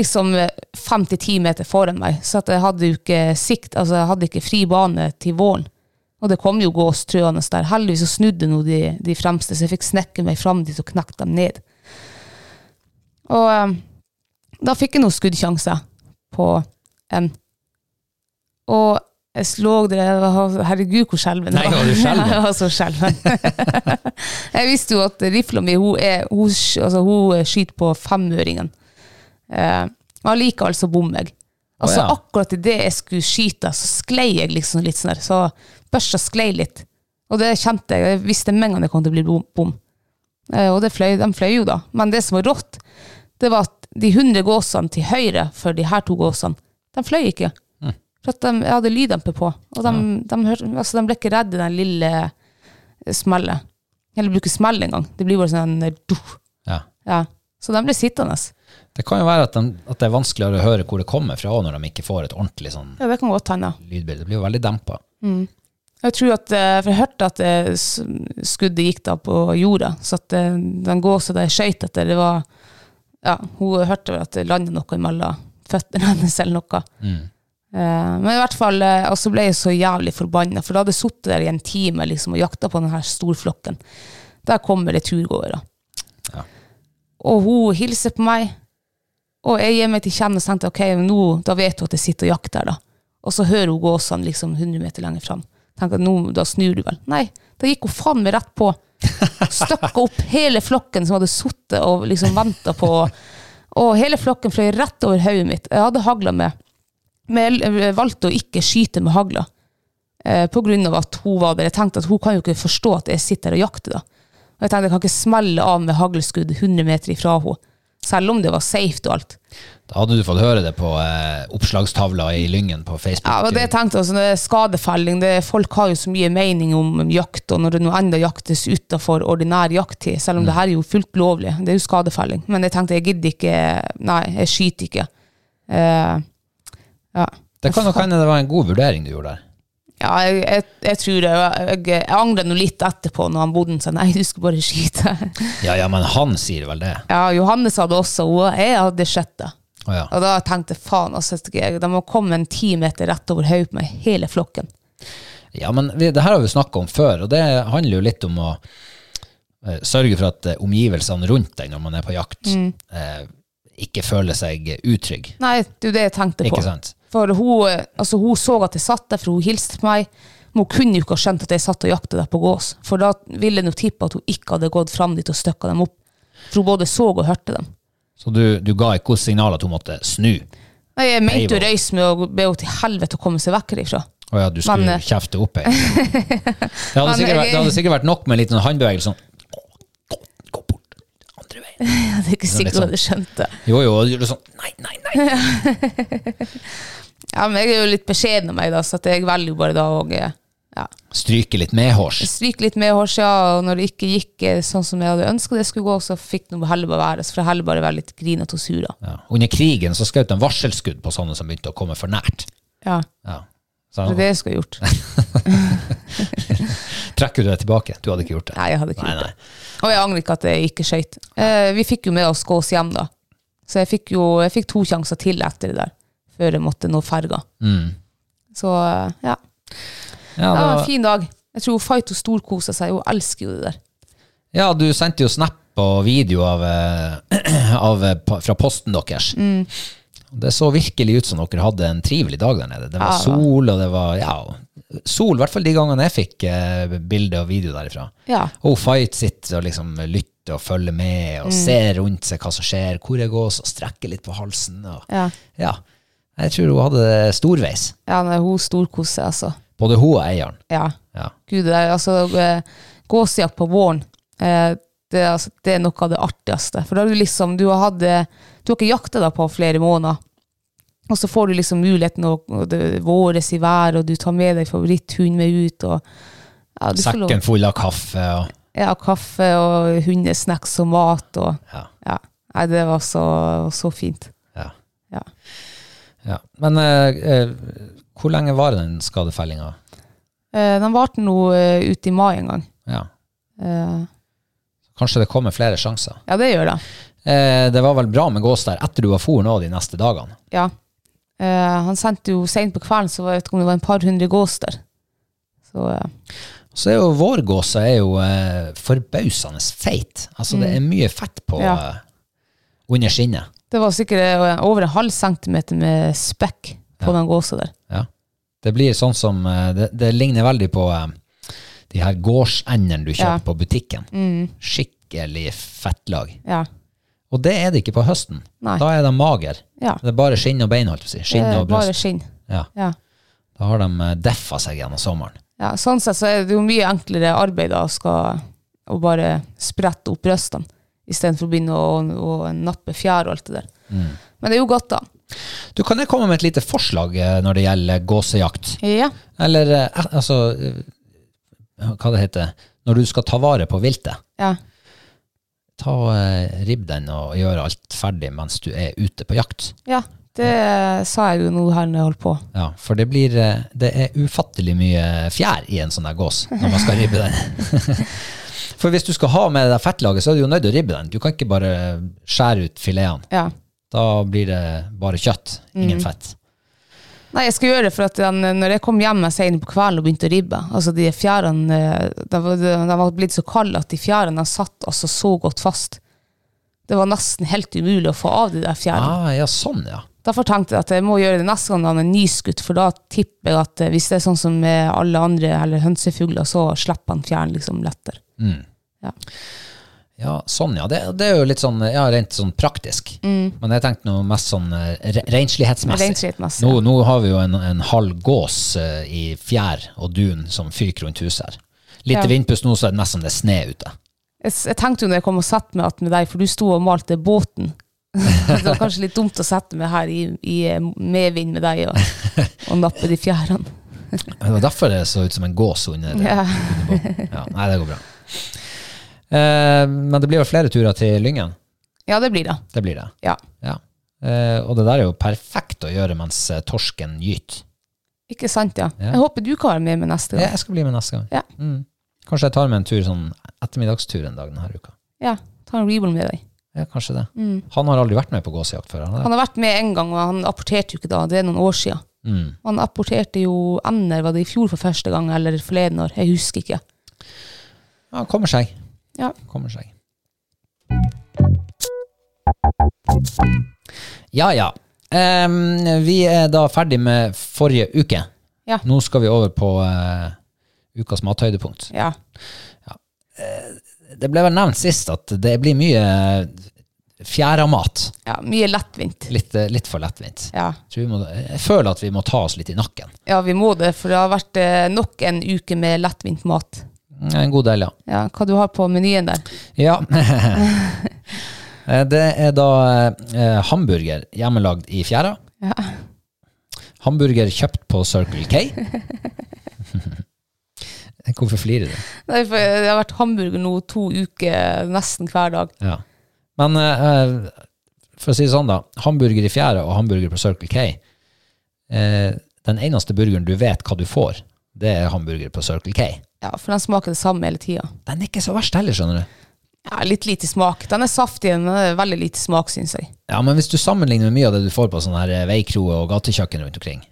D: Liksom eh, fem til ti meter foran meg, så at jeg hadde jo ikke sikt, altså jeg hadde ikke fri bane til våren. Og det kom jo gås trøende der. Heldigvis så snudde nå de, de fremste, så jeg fikk snekke meg fram dit og knekke dem ned. Og eh, da fikk jeg noen skuddsjanser på en og jeg slå det, jeg var- herregud hvor skjelven
C: Nei, var du skjelven?
D: Jeg var så skjelven. jeg visste jo at rifla mi, hun, er, hun, sk- altså, hun skyter på femøringen. Eh, og allikevel så bom jeg. Altså
C: Å, ja.
D: akkurat i det jeg skulle skyte, så sklei jeg liksom litt sånn der, så børsa sklei litt. Og det kjente jeg, jeg visste med en gang det kom til å bli bom. bom. Eh, og det fløy, de fløy jo da. Men det som var rått, det var at de 100 gåsene til høyre for de her to gåsene, de fløy ikke.
C: Mm.
D: For at de, jeg hadde lyddemper på, og de, de, hørte, altså de ble ikke redde den lille eh, smellet. Eller bruker smell engang. Det blir bare sånn en do.
C: Ja.
D: Ja. Så de ble sittende.
C: Det kan jo være at, de, at det er vanskeligere å høre hvor det kommer fra når de ikke får et ordentlig sånn
D: Ja, det kan godt hende.
C: lydbilde. Det blir jo veldig dempa.
D: Jeg tror at, eh, for jeg hørte at eh, s- skuddet gikk da på jorda, så at eh, den gåsa der skøyt etter, det var ja, Hun hørte vel at det landet noe mellom føttene hennes eller noe. Eh, Men i hvert fall, eh, og så ble jeg så jævlig forbanna, for da hadde jeg sittet der i en time liksom, og jakta på denne storflokken. Der kommer det turgåere.
C: Ja.
D: Og hun hilser på meg, og jeg gir meg til kjenne og tenkte ok, nå, da vet hun at jeg sitter og jakter. da. Og så hører hun gåsene liksom 100 meter lenger fram. Tenker at nå, da snur du vel. Nei, da gikk hun faen meg rett på. Støkka opp hele flokken som hadde sittet og liksom venta på. Og hele flokken fløy rett over hodet mitt. Jeg hadde hagla med. Men jeg eh, valgte å ikke skyte med hagla. Eh, på grunn av at hun var der. Jeg tenkte at hun kan jo ikke forstå at jeg sitter og jakter. da. Og jeg tenkte jeg kan ikke smelle av med haglskudd 100 meter ifra henne. selv om det var safe og alt.
C: Da hadde du fått høre det på eh, oppslagstavla i Lyngen på Facebook.
D: Ja, og det jeg tenkte også, når det er skadefelling, det, folk har jo så mye mening om jakt, og når det nå enda jaktes utenfor ordinær jakttid, selv
C: Mm.
D: om det her er jo fullt lovlig, det er jo skadefelling. Men jeg tenkte, jeg gidder ikke, nei, jeg skyter ikke. Eh, ja.
C: det kan nok hende det var en god vurdering du gjorde der.
D: Ja, jeg, jeg, jeg tror det. Jeg, jeg angrer nå litt etterpå når han bodde sa nei, du skal bare skyte.
C: Ja, ja, men han sier vel det.
D: Ja, Johannes hadde også, og jeg hadde sett det.
C: Å ja.
D: Og da tenkte jeg, faen, altså, jeg- de må komme en ti meter rett over hodet på meg, hele flokken.
C: Ja, men vi, det her har vi snakka om før, og det handler jo litt om å eh, sørge for at eh, omgivelsene rundt deg når man er på jakt,
D: Mm.
C: eh, ikke føler seg utrygg.
D: Nei, det er jo det jeg tenkte på.
C: Ikke sant?
D: For hun, eh, altså, hun så at jeg satt der, for hun hilste på meg. Men hun kunne jo ikke ha skjønt at jeg satt og jakta der på gås. For da ville jeg nå tippe at hun ikke hadde gått fram dit og støkka dem opp. For hun både så og hørte dem.
C: Så du, du ga ikke henne signal at hun måtte snu.
D: Nei, jeg mente
C: Nei,
D: jo
C: hva?
D: røys med å be henne til helvete å komme seg vekk herifra.
C: Å ja, du skulle
D: Men, eh,
C: kjefte opp ei. Det, hadde
D: Men,
C: sikkert vært- det
D: jeg-
C: hadde sikkert vært nok med en liten håndbevegelse sånn gå, gå bort, andre veien.
D: Jeg er ikke
C: Det er litt
D: sikker hun hadde skjønt det.
C: Jo, jo, og du gjorde sånn Nei, nei, nei.
D: Ja, men jeg er jo litt beskjeden av meg, da, så at jeg velger jo bare da å eh, ja,
C: Stryke litt medhårs.
D: stryke litt med hårsida. Og når det ikke gikk eh, sånn som jeg hadde ønska det skulle gå, så fikk det nå heller bare være. Så får jeg heller bare være litt grinete og sur, da.
C: Ja. Under krigen så skjøt de varselskudd på sånne som begynte å komme for nært.
D: Ja,
C: Ja.
D: det
C: Så,
D: er det jeg skulle ha gjort.
C: trekker du deg tilbake? Du hadde ikke gjort det.
D: Nei, jeg hadde ikke
C: Nei,
D: gjort
C: nei.
D: det. Og jeg angrer ikke at jeg ikke skøyt. Eh, vi fikk jo med oss gås hjem, da. Så jeg fikk jo jeg fikk to sjanser til etter det der, før jeg måtte nå ferga. Så eh, Mm. ja.
C: Ja,
D: Det
C: det
D: var
C: var,
D: en fin dag. Jeg tror Faito storkosa seg. Hun elsker jo det der.
C: ja, du sendte jo snap og video av, eh, av, eh, pa- fra posten deres.
D: Mm.
C: Og Det så virkelig ut som dere hadde en trivelig dag der nede. Det var
D: Ja, det var-
C: sol, og det var ja, sol, i hvert fall de gangene jeg fikk eh, bilde og video derifra.
D: Ja.
C: Og Fight sitter og liksom lytter og følger med
D: Mm.
C: og ser rundt seg hva som skjer, hvor jeg går, og strekker litt på halsen. Og,
D: Ja,
C: ja. Jeg tror hun hadde det storveis.
D: ja nei, hun storkoser seg, altså.
C: Både hun og eieren.
D: Ja.
C: Ja.
D: Gud, det er, altså, eh, gåsejakt på våren, eh, det, er altså, det er noe av det artigste. For da har du liksom, du har, hatt, eh, du har ikke jakta deg på flere måneder, og så får du liksom muligheten å og det våres i vær, og du tar med deg favoritthunden med ut, og ja, du får lov-
C: Sekken full av kaffe og
D: Ja, kaffe og hundesnacks og mat, og
C: ja.
D: ja. Nei, det var så, så fint.
C: Ja.
D: Ja.
C: Ja. Men eh, eh, hvor lenge var den skadefellinga?
D: Eh, den varte nå eh, ut i mai en gang.
C: Ja.
D: Eh,
C: Kanskje det kommer flere sjanser.
D: ja, det gjør det.
C: Eh, det var vel bra med gås der etter du var for nå de neste dagene.
D: Ja. Eh, han sendte jo sent på kvelden, så jeg vet ikke om det var en par hundre gås der. Så eh,
C: Så er jo vårgåsa er jo eh, forbausende feit. Altså det er mye fett på
D: Mm. Ja.
C: eh, under skinnet.
D: det var sikkert eh, over en halv centimeter med spekk på den gåsa der.
C: Ja. Det blir sånn som eh, Det, det ligner veldig på eh, de her gårdsendene du
D: Ja. Mm.
C: kjøper på butikken. Skikkelig fettlag.
D: Ja.
C: Og det er det ikke på høsten.
D: Nei.
C: Da er de mager.
D: Ja.
C: Det er bare skinn og bein, holdt jeg på å si. Skinn
D: Eh,
C: og
D: bare
C: bryst.
D: skinn.
C: Ja.
D: Ja.
C: Da har de eh, deffa seg gjennom sommeren.
D: ja. Sånn sett så er det jo mye enklere arbeid da, å skal, å bare sprette opp brystene istedenfor å begynne å, å nappe fjær og alt det der.
C: Mm.
D: Men det er jo godt, da.
C: Du, kan jeg komme med et lite forslag eh, når det gjelder gåsejakt?
D: Ja.
C: Eller eh, altså eh, Hva det heter Når du skal ta vare på viltet,
D: ja.
C: ta eh, ribb den og gjør alt ferdig mens du er ute på jakt.
D: ja. Det sa jeg jo nå her når jeg holdt på.
C: Ja, for det blir eh, Det er ufattelig mye fjær i en sånn der gås når man skal ribbe den. For hvis du skal ha med det der fettlaget, så er du jo nødt til å ribbe den. Du kan ikke bare skjære ut filetene.
D: Ja.
C: Da blir det bare kjøtt,
D: Mm.
C: ingen fett.
D: Nei, jeg skal gjøre det, for at den, når jeg kom hjem sent på kvelden og begynte å ribbe, altså de fjærene, eh, de, var- de var blitt så kalde at de fjærene de satt altså så godt fast. Det var nesten helt umulig å få av de der fjærene.
C: Ah, ja, sånn, ja.
D: Derfor tenkte jeg at jeg må gjøre det neste gang han er nyskutt, for da tipper jeg at eh, hvis det er sånn som med alle andre eller hønsefugler, så slipper han fjæren liksom lettere.
C: Ja, sånn, ja. Det, det er jo litt sånn ja, rent sånn praktisk.
D: Mm.
C: Men jeg tenkte noe mest sånn eh, re renslighetsmessig.
D: Renslighetsmessig,
C: Nå,
D: ja.
C: nå har vi jo en, en halv gås eh, i fjær og dun som fyker rundt huset her. Litt
D: Ja.
C: vindpust nå, så er sånn det nesten det er sne ute.
D: Jeg, s- jeg tenkte jo når jeg kom og satt meg at med deg, for du sto og malte båten Det var kanskje litt dumt å sette meg her i, i eh, medvind med deg og, og nappe de fjærene.
C: Det var derfor det så ut som en gås under.
D: Ja.
C: under båten. Ja, nei, det går bra. Eh, men det blir jo flere turer til Lyngen.
D: Ja, det blir det.
C: Det blir det.
D: Ja.
C: Ja. Eh, og det der er jo perfekt å gjøre mens eh, torsken gyter.
D: Ikke sant, ja.
C: Ja.
D: Jeg håper du kan være med med neste gang.
C: Jeg skal bli med neste gang.
D: Ja.
C: Mm. Kanskje jeg tar med en tur sånn ettermiddagstur en dag denne uka.
D: Ja, ta en rebull med deg.
C: Ja, kanskje det. Han har aldri vært med på gåsejakt før. Han,
D: Mm. Han har vært med en gang, og han apporterte jo ikke da. Det er noen år siden.
C: mm.
D: Han apporterte jo ender, var det i fjor for første gang, eller forleden år? Jeg husker ikke.
C: Ja, han kommer seg.
D: Ja.
C: Kommer seg. Ja, ja. Em, vi er da ferdig med forrige uke.
D: Ja.
C: Nå skal vi over på eh, ukas mathøydepunkt.
D: Ja.
C: Det ble vel nevnt sist at det blir mye eh, fjæramat.
D: ja. Mye lettvint.
C: Litt, eh, litt for lettvint.
D: Ja.
C: Jeg tror vi må, jeg føler at vi må ta oss litt i nakken.
D: ja, vi må det, for det har vært eh, nok en uke med lettvint mat.
C: En god del, ja.
D: Ja, hva du har på menyen der?
C: Ja. Eh, Det er da eh, hamburger hjemmelagd i fjæra.
D: Ja.
C: Hamburger kjøpt på Circle K. Hvorfor flirer du?
D: Nei, for Det har vært hamburger nå to uker, nesten hver dag.
C: Ja. Men eh, for å si det sånn, da. Hamburger i fjæra og hamburger på Circle K. Eh, den eneste burgeren du vet hva du får, det er hamburger på Circle K.
D: Ja, For den smaker det samme hele tida.
C: Den er ikke så verst heller, skjønner du.
D: Ja, litt lite smak. Den er saftig, men den er veldig lite smak, syns jeg.
C: Ja, men hvis du sammenligner med mye av det du får på sånne her eh, veikroer og gatekjøkken rundt omkring,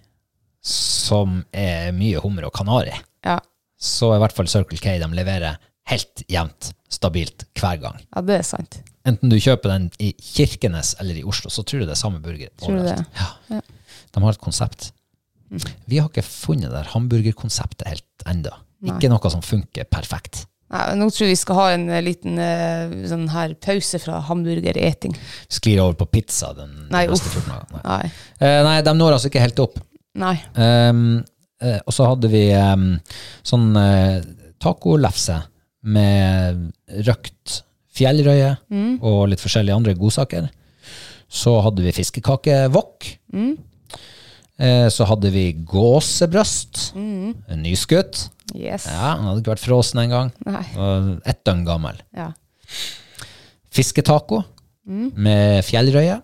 C: som er mye hummer og kanari,
D: Ja,
C: så er i hvert fall Circle K de leverer helt jevnt, stabilt, hver gang.
D: ja det er sant.
C: Enten du kjøper den i Kirkenes eller i Oslo, så tror du det er samme burger.
D: Tror du det? Mm.
C: overalt. Ja. De har et konsept. Vi har ikke funnet det der hamburgerkonseptet helt enda. Ikke noe som funker perfekt.
D: Nei, men nå tror jeg vi skal ha en eh, liten eh, sånn her pause fra hamburgereting.
C: Sklir over på pizza den de
D: Nei,
C: neste
D: uff.
C: 14 dagene. Nei.
D: Nei.
C: Eh, nei, de når altså ikke helt opp.
D: Nei.
C: Um, eh, og så hadde vi um, sånn uh, tacolefse med røkt fjellrøye og litt forskjellige andre godsaker. Så hadde vi fiskekakevokk. Eh, så hadde vi gåsebrøst. En Nyskutt.
D: Yes.
C: Ja, han hadde ikke vært frossen engang.
D: Nei.
C: Ett døgn gammel.
D: Ja.
C: Fisketaco med fjellrøye.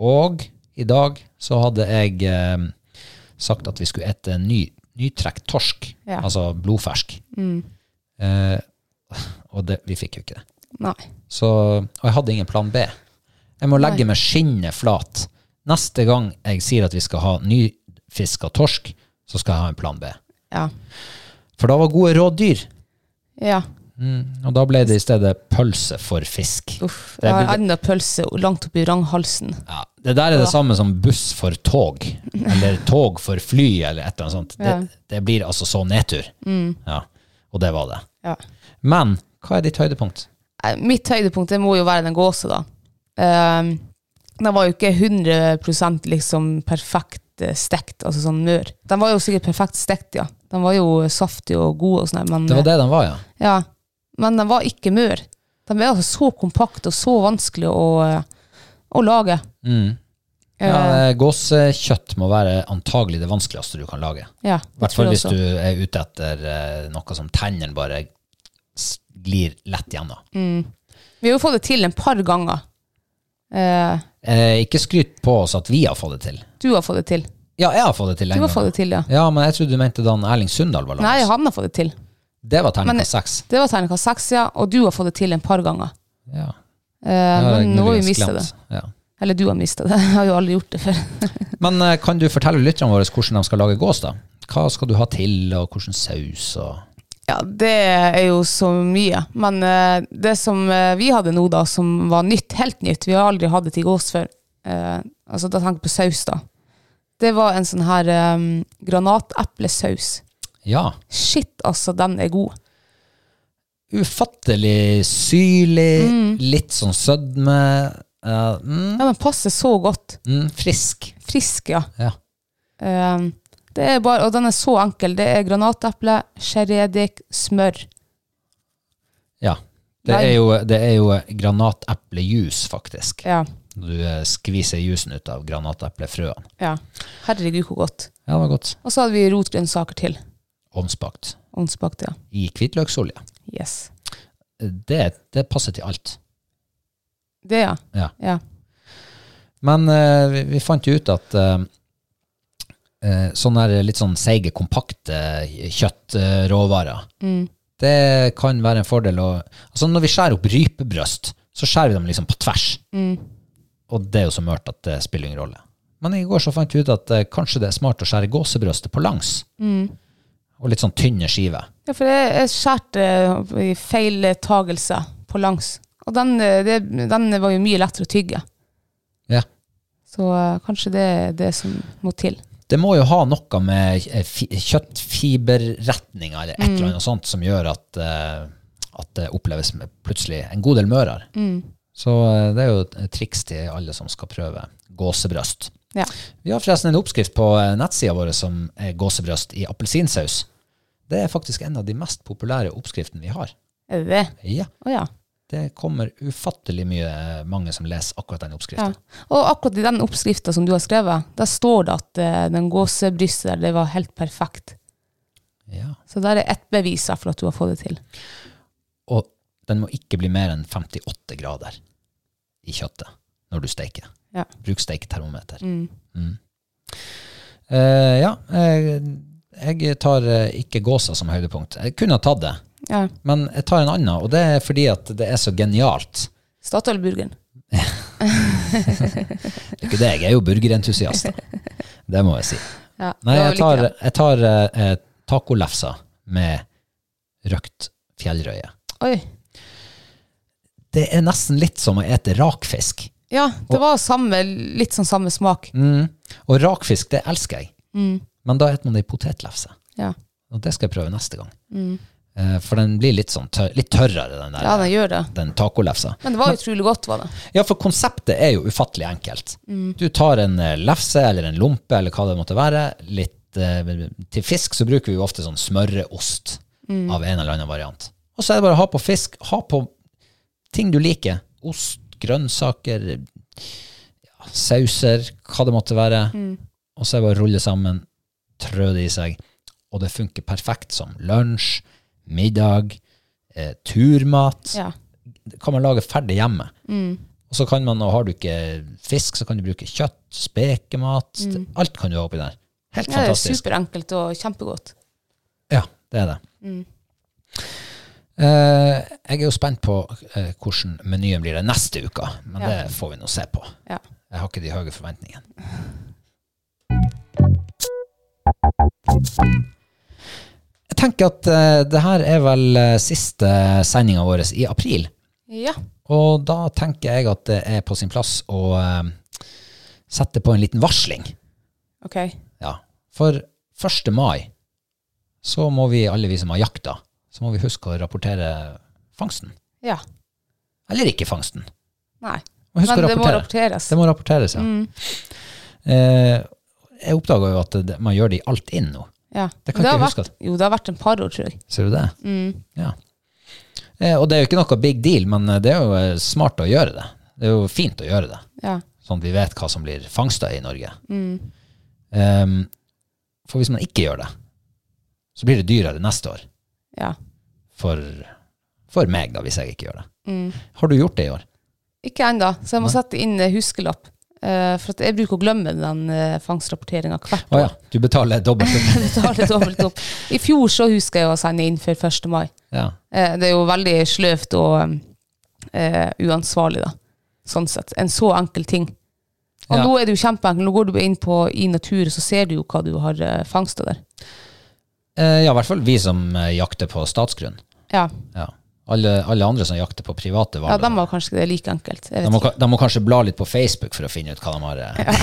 C: Og i dag så hadde jeg eh, sagt at vi skulle ete ny, nytrekt torsk,
D: Ja.
C: altså blodfersk. Eh, og det, vi fikk jo ikke det.
D: Nei.
C: Så, og jeg hadde ingen plan B. Jeg må legge meg skinnet flat. Neste gang jeg sier at vi skal ha nyfiska torsk, så skal jeg ha en plan B.
D: Ja.
C: For da var gode råd dyr.
D: ja.
C: Og da ble det i stedet pølse for fisk.
D: Uff.
C: Det
D: Jeg har
C: blir-
D: enda pølse langt oppi ranghalsen.
C: Ja, det der er det samme som buss for tog, eller tog for fly, eller et eller annet sånt.
D: Ja. Mm.
C: Det, det blir altså så nedtur. Ja, og det var det.
D: Ja.
C: Men hva er ditt høydepunkt?
D: Nei, Mitt høydepunkt det må jo være den gåsa, da. Um, den var jo ikke 100 liksom perfekt eh, stekt, altså sånn mør. Den var jo sikkert perfekt stekt, ja. Den var jo saftig og god og sånn, her, men,
C: Det var det den var, ja.
D: Ja. men den var ikke mør. Den er altså så kompakt og så vanskelig å, eh, å lage.
C: Mm. ja
D: Eh,
C: eh, Gåsekjøtt må være antagelig det vanskeligste du kan lage.
D: ja,
C: I hvert fall hvis
D: du
C: du er ute etter eh, noe som tennene bare s- glir lett gjennom.
D: Mm. Vi har jo fått det til en par ganger. Eh,
C: Eh, ikke skryt på oss at vi har fått det til.
D: du har fått det til.
C: Ja, jeg har fått det til
D: Du
C: en
D: har fått
C: gang.
D: det til, ja.
C: Ja, men jeg trodde du mente da han Erling Sundal var
D: Nei,
C: langs.
D: han har fått det til.
C: Det var
D: Men-
C: terningkast seks.
D: Det var terningkast seks, ja. Og du har fått det til en par ganger.
C: Ja.
D: Eh,
C: Ja, jeg
D: men nå har vi
C: muligens
D: mista det.
C: glemt. Ja.
D: Eller du har mista det. Jeg har jo aldri gjort det før.
C: Men eh, kan du fortelle lytterne våre hvordan de skal lage gås, da? Hva skal du ha til, og hvilken saus? Og...
D: Ja, det er jo så mye. Men eh, det som eh, vi hadde nå, da, som var nytt, helt nytt Vi har aldri hatt det til gås før. Eh, altså, da tenker jeg på saus, da. Det var en sånn her um, granateplesaus.
C: Ja.
D: Shit, altså, den er god.
C: Ufattelig syrlig,
D: Mm.
C: litt sånn sødme. eh, mm,
D: Ja, den passer så godt.
C: mm, frisk.
D: Frisk, ja.
C: Ja.
D: Eh, det er bare, og den er så enkel. Det er granateple, sherriedik, smør.
C: ja. Det
D: Nei.
C: er jo, det er jo granateplejus, faktisk.
D: Ja.
C: Du eh, skviser jusen ut av granateplefrøene.
D: ja. Herregud, hvor godt.
C: Ja, det var godt.
D: Og så hadde vi rotgrønnsaker til.
C: Ovnsbakt
D: Ovnsbakt, ja.
C: i hvitløksolje.
D: Yes.
C: Det, det passer til alt.
D: Det, ja.
C: Ja.
D: ja.
C: Men eh, vi, vi fant jo ut at eh, eh, sånne her litt sånn seige, kompakte eh, kjøttråvarer,
D: Mm.
C: det kan være en fordel å Altså når vi skjærer opp rypebrøst, så skjærer vi dem liksom på tvers.
D: Mm.
C: Og det er jo så mørt at det spiller ingen rolle. Men i går så fant vi ut at eh, kanskje det er smart å skjære gåsebrøstet på langs.
D: Mm.
C: Og litt sånn tynne skiver.
D: Ja, for jeg, jeg skjærte eh, i feil tagelse på langs. Og den, eh, det, den var jo mye lettere å tygge.
C: Ja.
D: Så eh, kanskje det er det som må til.
C: Det må jo ha noe med eh, fi- kjøttfiberretninga eller et eller annet sånt som gjør at, eh, at det oppleves med plutselig en god del mørere.
D: Mm.
C: Så eh, det er jo et triks til alle som skal prøve gåsebrøst.
D: Ja.
C: Vi har forresten en oppskrift på eh, nettsida vår som er gåsebrøst i appelsinsaus. Det er faktisk en av de mest populære oppskriftene vi har.
D: Er det det?
C: Ja,
D: Å ja.
C: det kommer ufattelig mye eh, mange som leser akkurat den
D: ja.
C: oppskriften.
D: Og akkurat i den oppskrifta som du har skrevet, der står det at eh, den gåsebrystet der, det var helt perfekt.
C: Ja.
D: Så der er ett bevis da for at du har fått det til.
C: Og den må ikke bli mer enn 58 grader i kjøttet når du steiker.
D: Ja.
C: Bruk steiketermometer.
D: Mm.
C: Eh, ja, eh, jeg tar eh, ikke gåsa som høydepunkt. Jeg kunne ha tatt det,
D: Ja.
C: men jeg tar en annen, og det er fordi at det er så genialt.
D: Statoil-burgeren.
C: Det er ikke det, jeg er jo burgerentusiast. da. Det må jeg si.
D: Ja,
C: Nei,
D: det var
C: jeg
D: vel
C: tar,
D: ikke det.
C: jeg tar eh, eh, tacolefsa med røkt fjellrøye.
D: Oi.
C: Det er nesten litt som å ete rakfisk.
D: Ja, det var samme, litt sånn samme smak.
C: Mm. Og rakfisk, det elsker jeg. Men da spiser man det i potetlefse.
D: Ja,
C: Og det skal jeg prøve neste gang. Eh, for den blir litt, sånn tør litt tørrere, den der
D: ja den gjør det.
C: den tacolefsa.
D: Men det var utrolig godt, var det.
C: Ja, for konseptet er jo ufattelig enkelt. Du tar en eh, lefse eller en lompe eller hva det måtte være. Litt, eh, til fisk så bruker vi jo ofte sånn smørreost av en eller annen variant. Og så er det bare å ha på fisk. Ha på ting du liker. Ost, grønnsaker, ja, sauser, hva det måtte være. Og så er det bare å rulle sammen, trø det i seg. Og det funker perfekt som lunsj, middag, eh, turmat
D: Ja.
C: kan man lage ferdig hjemme.
D: Mm.
C: Og så kan man, og har du ikke fisk, så kan du bruke kjøtt, spekemat, alt kan du ha oppi der. Helt
D: Mm. Ja, det er
C: fantastisk.
D: superenkelt og kjempegodt.
C: Ja, det er det.
D: Mm.
C: Eh, jeg er jo spent på eh, hvordan menyen blir det neste uke, men
D: Ja.
C: det får vi nå se på.
D: Ja.
C: Jeg har ikke de høye forventningene. Jeg tenker at eh, det her er vel eh, siste sendinga vår i april.
D: Ja.
C: Og da tenker jeg at det er på sin plass å eh, sette på en liten varsling.
D: Ok.
C: Ja. For 1. mai så må vi, alle vi som har jakta, så må vi huske å rapportere fangsten.
D: Ja.
C: Eller ikke fangsten.
D: Nei.
C: Og husk
D: Men
C: å
D: det må
C: rapportere.
D: rapporteres. Mm.
C: Det må rapporteres, ja. Eh, jeg oppdaga jo at det, man gjør det i alt inn nå.
D: Ja.
C: Det kan
D: har
C: ikke jeg huske
D: vært, jo, det har vært en par år, tror jeg.
C: Ser du det?
D: Mm.
C: Ja. Eh, og det er jo ikke noe big deal, men eh, det er jo eh, smart å gjøre det. Det er jo fint å gjøre det.
D: Ja.
C: sånn at vi vet hva som blir fangsta i Norge. Ehm, for hvis man ikke gjør det, så blir det dyrere neste år.
D: ja.
C: For, for meg, da, hvis jeg ikke gjør det. Har du gjort det i år?
D: Ikke ennå, så jeg må sette inn eh, huskelapp. eh, for at jeg bruker å glemme den uh, fangstrapporteringa hvert
C: Å
D: år.
C: ja. Du betaler dobbelt. opp.
D: Jeg tar det dobbelt opp. I fjor så husker jeg å sende inn før 1. mai.
C: ja.
D: Eh, det er jo veldig sløvt og eh, uansvarlig, da. Sånn sett. En så enkel ting. Og
C: Ja.
D: nå er det jo kjempeenkelt. Nå går du bare inn på i naturen, så ser du jo hva du har uh, fangsta der.
C: Eh, ja, i hvert fall vi som eh, jakter på statsgrunn.
D: Ja.
C: Ja. Alle, alle andre som jakter på private
D: Ja,
C: varer.
D: de var kanskje det like enkelt. Jeg
C: De
D: vet
C: må,
D: ikke.
C: ka- de må kanskje bla litt på Facebook for å finne ut hva de har eh.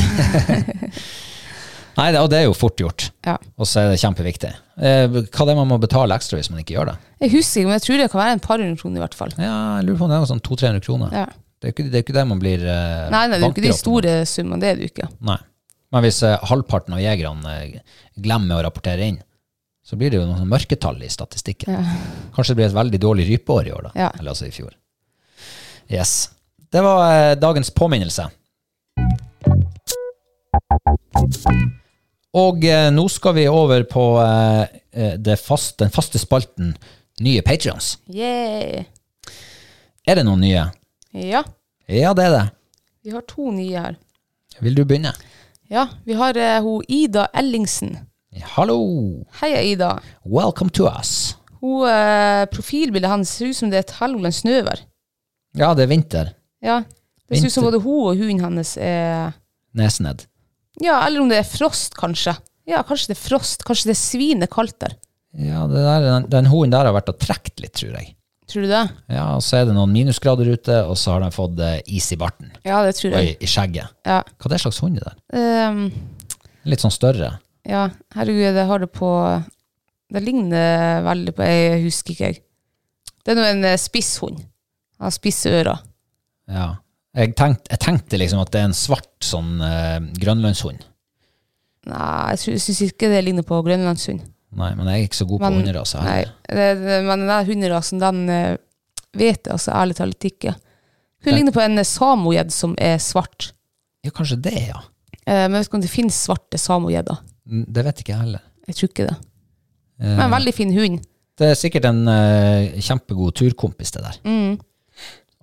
C: Nei, det, og det er jo fort gjort.
D: Ja.
C: Og så er det kjempeviktig. Eh, hva det er man må betale ekstra hvis man ikke gjør det?
D: Jeg husker ikke, men jeg tror det kan være en par hundre kroner i hvert fall.
C: Ja, jeg lurer på om det er noe sånn 200-300 kroner.
D: Ja.
C: Det, er ikke, det er ikke der man blir eh,
D: Nei, nei, det er jo ikke de
C: bankrått.
D: store summene, det er det jo ikke.
C: Nei. Men hvis eh, halvparten av jegerne eh, glemmer å rapportere inn, så blir det jo noen mørketall i statistikken. Kanskje det blir et veldig dårlig rypeår i år, da.
D: Ja.
C: Eller altså i fjor. Yes. Det var eh, dagens påminnelse. Og eh, nå skal vi over på eh, eh, det fast, den faste spalten Nye Patrions.
D: Yeah.
C: Er det noen nye?
D: Ja,
C: Ja, det er det.
D: vi har to nye her.
C: Vil du begynne?
D: Ja, vi har eh, hun Ida Ellingsen.
C: Hallo!
D: Heia, Ida.
C: Welcome to us.
D: Hun, eh, profilbildet hans ser ut som det er et halvglanz snøvær.
C: Ja, det er vinter.
D: Ja. Det ser ut som
C: Vinter.
D: både hun og hunden hans er
C: Nesned.
D: Ja, eller om det er frost, kanskje. Ja, kanskje det er frost. Kanskje det er svinet kaldt der.
C: Ja, det der, den, den hunden der har vært og trekt litt, tror jeg.
D: Tror du det?
C: Ja, og så er det noen minusgrader ute, og så har den fått eh, is i barten.
D: Ja, det tror
C: Og
D: jeg.
C: i, i skjegget.
D: Ja.
C: Hva er det slags hund er det der?
D: Ehm,
C: Litt sånn større.
D: ja, herregud, jeg har det på Det ligner veldig på Jeg husker ikke, jeg. Det er nå en eh, spisshund. Han har spisse ører.
C: Ja. Jeg tenkte, jeg tenkte liksom at det er en svart sånn eh, grønlandshund.
D: Nei, jeg sy- syns ikke det ligner på grønlandshund.
C: Nei, men jeg er ikke så god på
D: Men-
C: hunderaser.
D: Nei,
C: heller.
D: det, det, men den der hunderasen, den eh, vet jeg altså ærlig talt ikke. Hun ligner på en eh, samogjedde som er svart.
C: Ja, kanskje det, ja.
D: Eh, men jeg vet ikke om det finnes svarte samogjedder.
C: Mm, Det vet ikke jeg heller.
D: Jeg tror ikke det.
C: Eh,
D: Men en veldig fin hund.
C: Det er sikkert en eh, kjempegod turkompis, det der.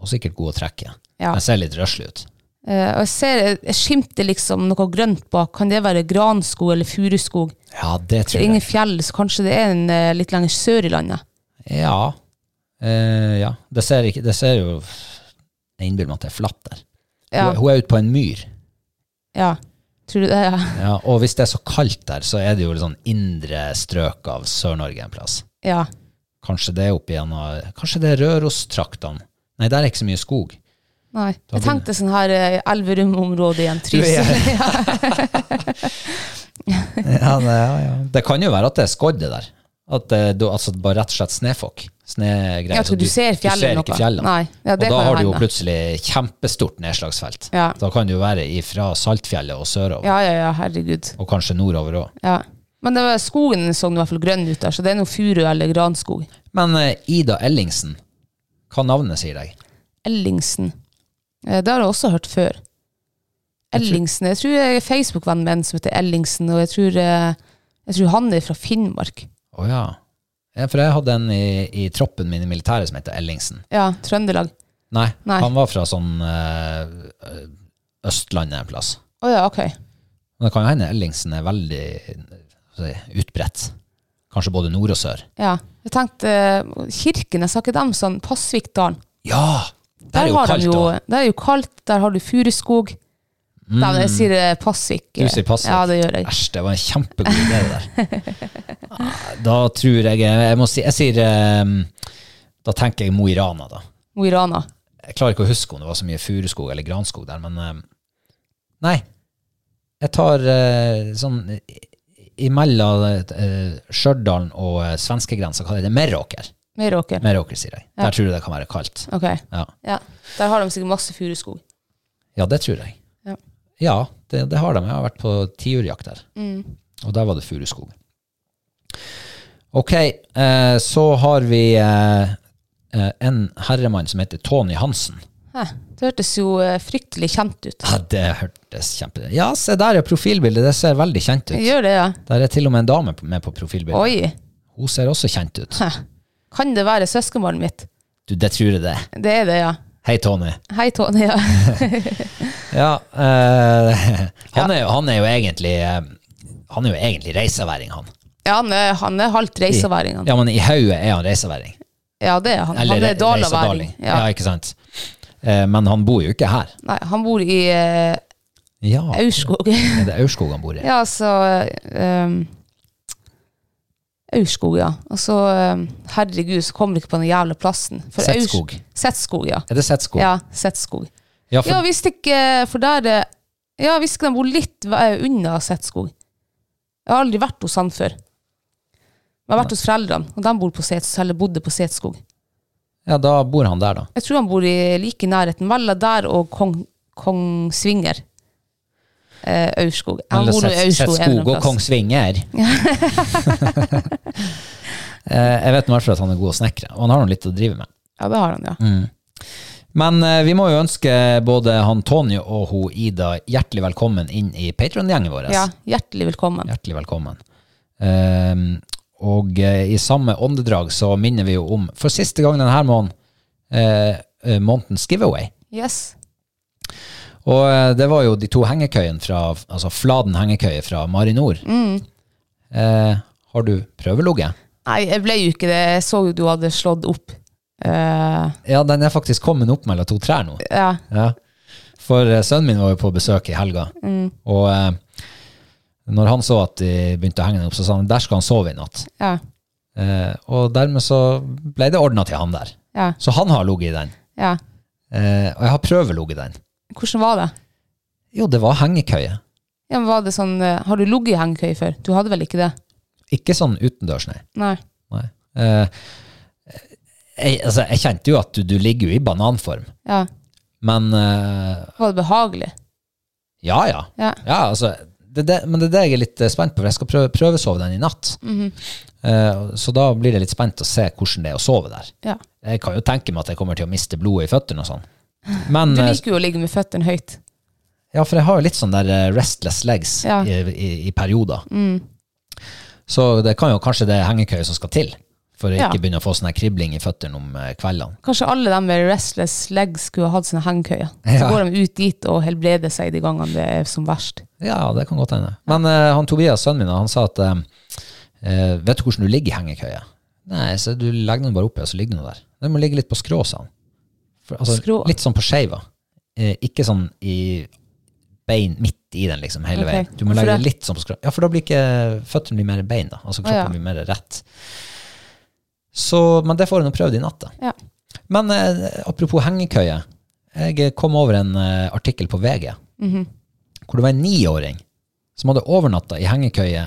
C: Og sikkert god å trekke.
D: Mm. Ja.
C: Den ser litt røslig ut.
D: Eh, og jeg ser jeg skimter liksom noe grønt bak. Kan det være granskog eller furuskog?
C: Ja, det
D: Det
C: tror
D: er ingen
C: jeg.
D: fjell, så kanskje det er en eh, litt lenger sør i landet.
C: Ja. Eh, ja. Det ser, ikke, det ser jo Jeg innbiller meg at det er flatt der.
D: Ja,
C: Hun, hun er ute på en myr.
D: ja. Tror du det? Ja.
C: Ja, og hvis det er så kaldt der, så er det jo litt sånn indre strøk av Sør-Norge en plass.
D: ja.
C: Kanskje det er opp igjennom Kanskje det er Rørostraktene. Nei, der er ikke så mye skog.
D: Nei.
C: Da
D: Jeg tenkte sånn her eh, Elverum-område igjen. Trysil.
C: ja, det, ja, ja. det kan jo være at det er skodd, det der. At det, da- altså bare rett og slett snøfokk. Snøgreier.
D: Jeg tror
C: Så
D: du ser
C: Du
D: fjellet
C: ser
D: noe.
C: ikke fjellene.
D: Nei. Ja, det
C: og da
D: kan jo
C: har du jo
D: hende.
C: plutselig kjempestort nedslagsfelt.
D: Ja.
C: Da kan det jo være ifra Saltfjellet og sørover.
D: Ja, ja, ja, herregud.
C: Og kanskje nordover òg.
D: Ja. Men det var, skogen så i hvert fall grønn ut der, så det er noe furu eller granskog.
C: Men eh, Ida Ellingsen, hva navnet sier deg?
D: Ellingsen. Eh, Det har jeg også hørt før. Ellingsen. Jeg tror jeg er Facebook-venn med en som heter Ellingsen, og jeg tror, eh, jeg tror han er fra Finnmark.
C: Å ja. ja. For jeg hadde en i, i troppen min i militæret som heter Ellingsen.
D: Ja, Trøndelag.
C: Nei,
D: Nei.
C: han var fra sånn eh, ø- Østlandet en plass.
D: Å ja, ok.
C: Men det kan jo hende Ellingsen er veldig hva skal jeg si, utbredt. Kanskje både nord og sør.
D: Ja. Jeg tenkte eh, Kirkenes, har ikke dem sånn Pasvikdalen?
C: Ja! Der, er jo
D: har de
C: kaldt
D: jo,
C: òg.
D: der er jo kaldt, der har du furuskog. Nei, men jeg sier eh, Pasvik.
C: Mm. Du sier Pasvik.
D: Ja, det gjør jeg.
C: Æsj, det var en kjempegod idé, det der. Da tror jeg Jeg, må si, jeg sier eh, Da tenker jeg Mo i Rana, da.
D: Mo i Rana.
C: Jeg klarer ikke å huske om det var så mye furuskog eller granskog der, men eh, Nei. Jeg tar eh, sånn eh, imellom eh, Stjørdal og eh, svenskegrensa, hva heter det? Meråker.
D: Meråker.
C: Meråker, sier jeg. Der tror jeg det kan være kaldt.
D: Ok.
C: Ja,
D: Ja. Der har de sikkert masse furuskog.
C: ja det tror jeg.
D: Ja.
C: Ja, det, det har de. Jeg har vært på tiurjakt der,
D: Mm.
C: og der var det furuskog. Ok, eh, så har vi eh, eh, en herremann som heter Tony Hansen.
D: Hæ, Det hørtes jo eh, fryktelig kjent ut.
C: Ja, det hørtes kjempe... Ja, se der er profilbildet. Det ser veldig kjent ut.
D: Gjør det, ja.
C: Der er til og med en dame på- med på profilbildet.
D: Oi.
C: Hun ser også kjent ut.
D: Hæ. Kan det være søskenbarnet mitt?
C: Du, det tror jeg det. er.
D: Det er det, ja.
C: Hei, Tony.
D: Hei, Tony. Ja.
C: Ja, eh, han, er, jo- han er jo egentlig eh, Han er jo egentlig reiseværing, han.
D: Ja, han er, han er halvt reisaværing. han.
C: Ja, men i hodet er han reiseværing.
D: Ja, det er han.
C: Eller
D: han er
C: re-
D: dalaværing.
C: reisedaling. Ja.
D: Ja.
C: ikke sant? Eh, men han bor jo ikke her.
D: Nei, han bor i eh,
C: Ja,
D: Aurskog.
C: er det Aurskog han bor i?
D: ja, altså ehm, Aurskog, ja. Altså, ehm, herregud, så kommer jeg ikke på den jævla plassen. For Aurs-
C: Setskog.
D: Setskog, ja.
C: Er det Setskog?
D: Ja, Setskog.
C: Ja, for,
D: Ja, visst ikke, for der eh, Ja, visst ikke de bor litt ve- unna Setskog. Jeg har aldri vært hos han før. Men jeg har vært hos foreldrene, og de bor på Sets, eller bodde på Setskog.
C: ja, da bor han der, da.
D: Jeg tror han bor i like i nærheten, mellom der og Kong, Kongsvinger. eh, Aurskog. Jeg
C: Eller
D: bor nå i
C: sett, sett
D: Aurskog. en eller
C: skog og
D: annen plass.
C: Kongsvinger. Eh, jeg vet nå i hvert fall at han er god å snekre, og han har nå litt å drive med.
D: Ja, det har han,
C: Mm.
D: ja.
C: Men eh, vi må jo ønske både han Tonje og hun Ida hjertelig velkommen inn i Patron-gjengen vår.
D: ja. Hjertelig velkommen.
C: Hjertelig velkommen. Ehm, og eh, i samme åndedrag så minner vi jo om, for siste gang denne måneden, eh, eh, månedens giveaway.
D: Yes.
C: Og eh, det var jo de to hengekøyene fra, altså Fladen hengekøye fra Marinor.
D: Mm.
C: Eh, har du prøvelogget?
D: Nei, jeg ble jo ikke det. Jeg så jo du hadde slått opp. Eh,
C: Ja, den er faktisk kommet opp mellom to trær nå.
D: ja.
C: Ja. For eh, sønnen min var jo på besøk i helga, og eh, når han så at de begynte å henge den opp, så sa han der skal han sove i natt.
D: Ja.
C: Eh, og dermed så ble det ordna til han der.
D: Ja.
C: Så han har ligget i den.
D: ja.
C: Eh, og jeg har prøveligget i den.
D: Hvordan var det?
C: Jo, det var hengekøye.
D: Ja, men var det sånn, eh, har du ligget i hengekøye før? Du hadde vel ikke det?
C: Ikke sånn utendørs, nei.
D: Nei.
C: nei. Eh, jeg, altså, jeg kjente jo at du, du ligger jo i bananform,
D: Ja.
C: men eh,
D: Var det behagelig?
C: ja, ja.
D: Ja.
C: ja altså, det, er det, men det er det jeg er litt eh, spent på, for jeg skal prøve, prøvesove den i natt. Eh, så da blir jeg litt spent å se hvordan det er å sove der.
D: ja.
C: Jeg kan jo tenke meg at jeg kommer til å miste blodet i føttene og sånn. Men
D: Du
C: eh,
D: liker jo å ligge med føttene høyt.
C: Ja, for jeg har jo litt sånn der eh, restless legs
D: Ja. Mm.
C: i, i, i perioder. Så det kan jo kanskje det hengekøye som skal til, for å
D: Ja.
C: ikke begynne å få sånn her kribling i føttene om eh, kveldene.
D: Kanskje alle de med restless legs skulle ha hatt sånne hengekøyer. Så
C: Ja.
D: går de ut dit og helbreder seg de gangene det er som verst.
C: Ja, det kan godt hende. Men eh, han Tobias, sønnen min, han sa at eh, eh, vet du hvordan du ligger i hengekøye? Nei, så du legger den bare oppi, og så ligger den der. Den må ligge litt på skrå, sa han. For, altså,
D: Skrå?
C: Litt sånn på skeiva. Eh, ikke sånn i bein midt i den, liksom, hele
D: Ok.
C: veien. Du må
D: Hvorfor
C: legge den
D: det?
C: litt sånn på skrå. Ja, for da blir ikke føttene blir mer bein, da. Altså
D: Å, ja.
C: kroppen blir mer rett. Så, men det får jeg nå prøvd i natt, da.
D: Ja.
C: Men eh, apropos hengekøye. Jeg kom over en eh, artikkel på VG
D: Mhm.
C: hvor det var en niåring som hadde overnatta i hengekøye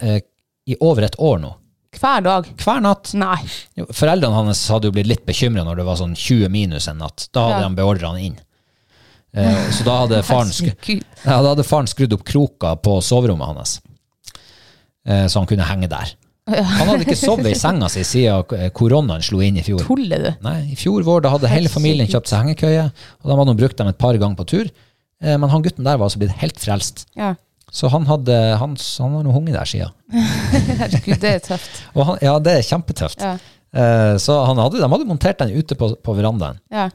C: eh, i over et år nå.
D: Hver dag.
C: Hver natt.
D: Nei.
C: Jo, Foreldrene hans hadde jo blitt litt bekymra når det var sånn 20 minus en natt. Da hadde
D: Ja.
C: han beordra han inn. Eh, så da hadde faren sk
D: Herregud.
C: ja, da hadde faren skrudd opp kroka på soverommet hans, eh, så han kunne henge der. Han hadde ikke sovet i senga si siden eh, koronaen slo inn i fjor.
D: Tuller du?
C: Nei, I fjor vår da hadde hele familien kjøpt seg hengekøye, og de hadde nå brukt dem et par ganger på tur. Eh, Men han gutten der var altså blitt helt frelst.
D: Ja.
C: Så han, hadde, han, han har nå hunget der siden.
D: Herregud, det er tøft.
C: Og han, ja, det er kjempetøft.
D: Ja.
C: Eh, Så han hadde, de hadde montert den ute på, på verandaen,
D: Ja.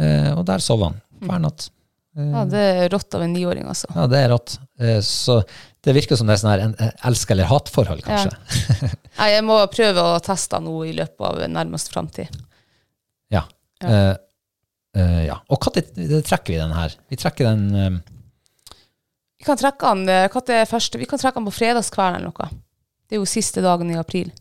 C: Eh, og der sov han hver natt.
D: ja, det er rått av en niåring, altså.
C: Ja, det er rått. Eh, Så det virker som det er sånn her en eh, elsk- eller hatforhold, kanskje.
D: Nei, jeg må prøve å teste noe i løpet av nærmest framtid.
C: Ja. Eh, eh, ja. Og når trekker vi den her? Vi trekker den eh,
D: Vi kan trekke han, eh, hva er det første? Vi kan trekke han på fredagskvelden eller noe. Det er jo siste dagen i april.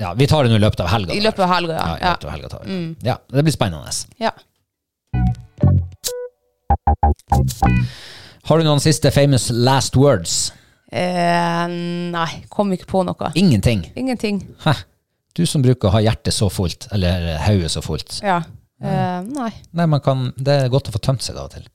C: Ja, vi tar den i løpet av helga.
D: I
C: da.
D: løpet av helga,
C: Ja, i
D: ja. ja. Mm.
C: løpet av helga tar vi. den. Ja, det blir spennende.
D: ja.
C: Har du noen siste famous last words?
D: Eh, nei, kom ikke på noe.
C: Ingenting.
D: Ingenting.
C: Hæ? Du som bruker å ha hjertet så fullt, eller hodet så fullt.
D: Ja. Eh, nei.
C: Nei, man kan, Det er godt å få tømt seg av og til.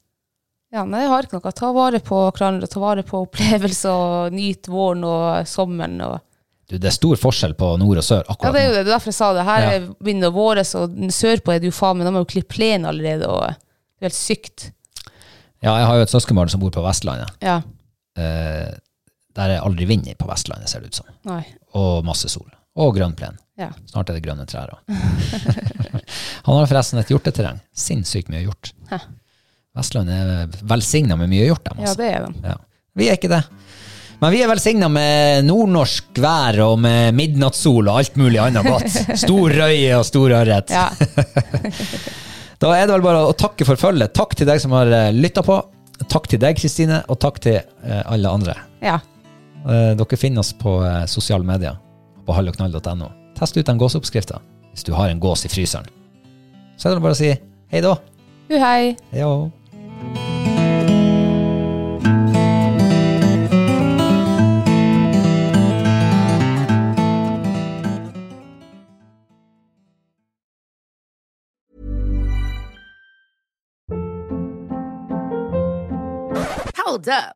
D: Ja, nei, jeg har ikke noe. Ta vare på hverandre, ta vare på opplevelser, og nyt våren og sommeren. Og...
C: Du, Det er stor forskjell på nord og sør
D: Ja,
C: akkurat
D: det
C: nå.
D: er jo det. Det er derfor jeg sa det. Her
C: Ja.
D: er begynner våres, og sørpå er det jo faen meg, de har jo klippet plenen allerede, og det er helt sykt.
C: Ja, jeg har jo et søskenbarn som bor på Vestlandet.
D: Ja.
C: Eh, der er aldri vind i på Vestlandet, ser det ut som.
D: Nei.
C: Og masse sol. Og grønn plen.
D: Ja.
C: Snart er det grønne trær òg. Han har forresten et hjorteterreng. Sinnssykt mye hjort.
D: Hæ.
C: Vestlandet er velsigna med mye hjort. dem,
D: ja,
C: altså.
D: det er de.
C: Ja. Vi er ikke det. Men vi er velsigna med nordnorsk vær og med midnattssol og alt mulig annet godt. Stor røye og stor ørret.
D: Ja.
C: Da er det vel bare å takke for følget. Takk til deg som har lytta på. Takk til deg, Kristine, og takk til eh, alle andre.
D: ja.
C: Eh, Dere finner oss på eh, sosiale medier på halloknall.no. Test ut den gåseoppskrifta hvis du har en gås i fryseren. Så er det bare å si hei da.
D: Uhei.
C: Hei da.
B: Hold up.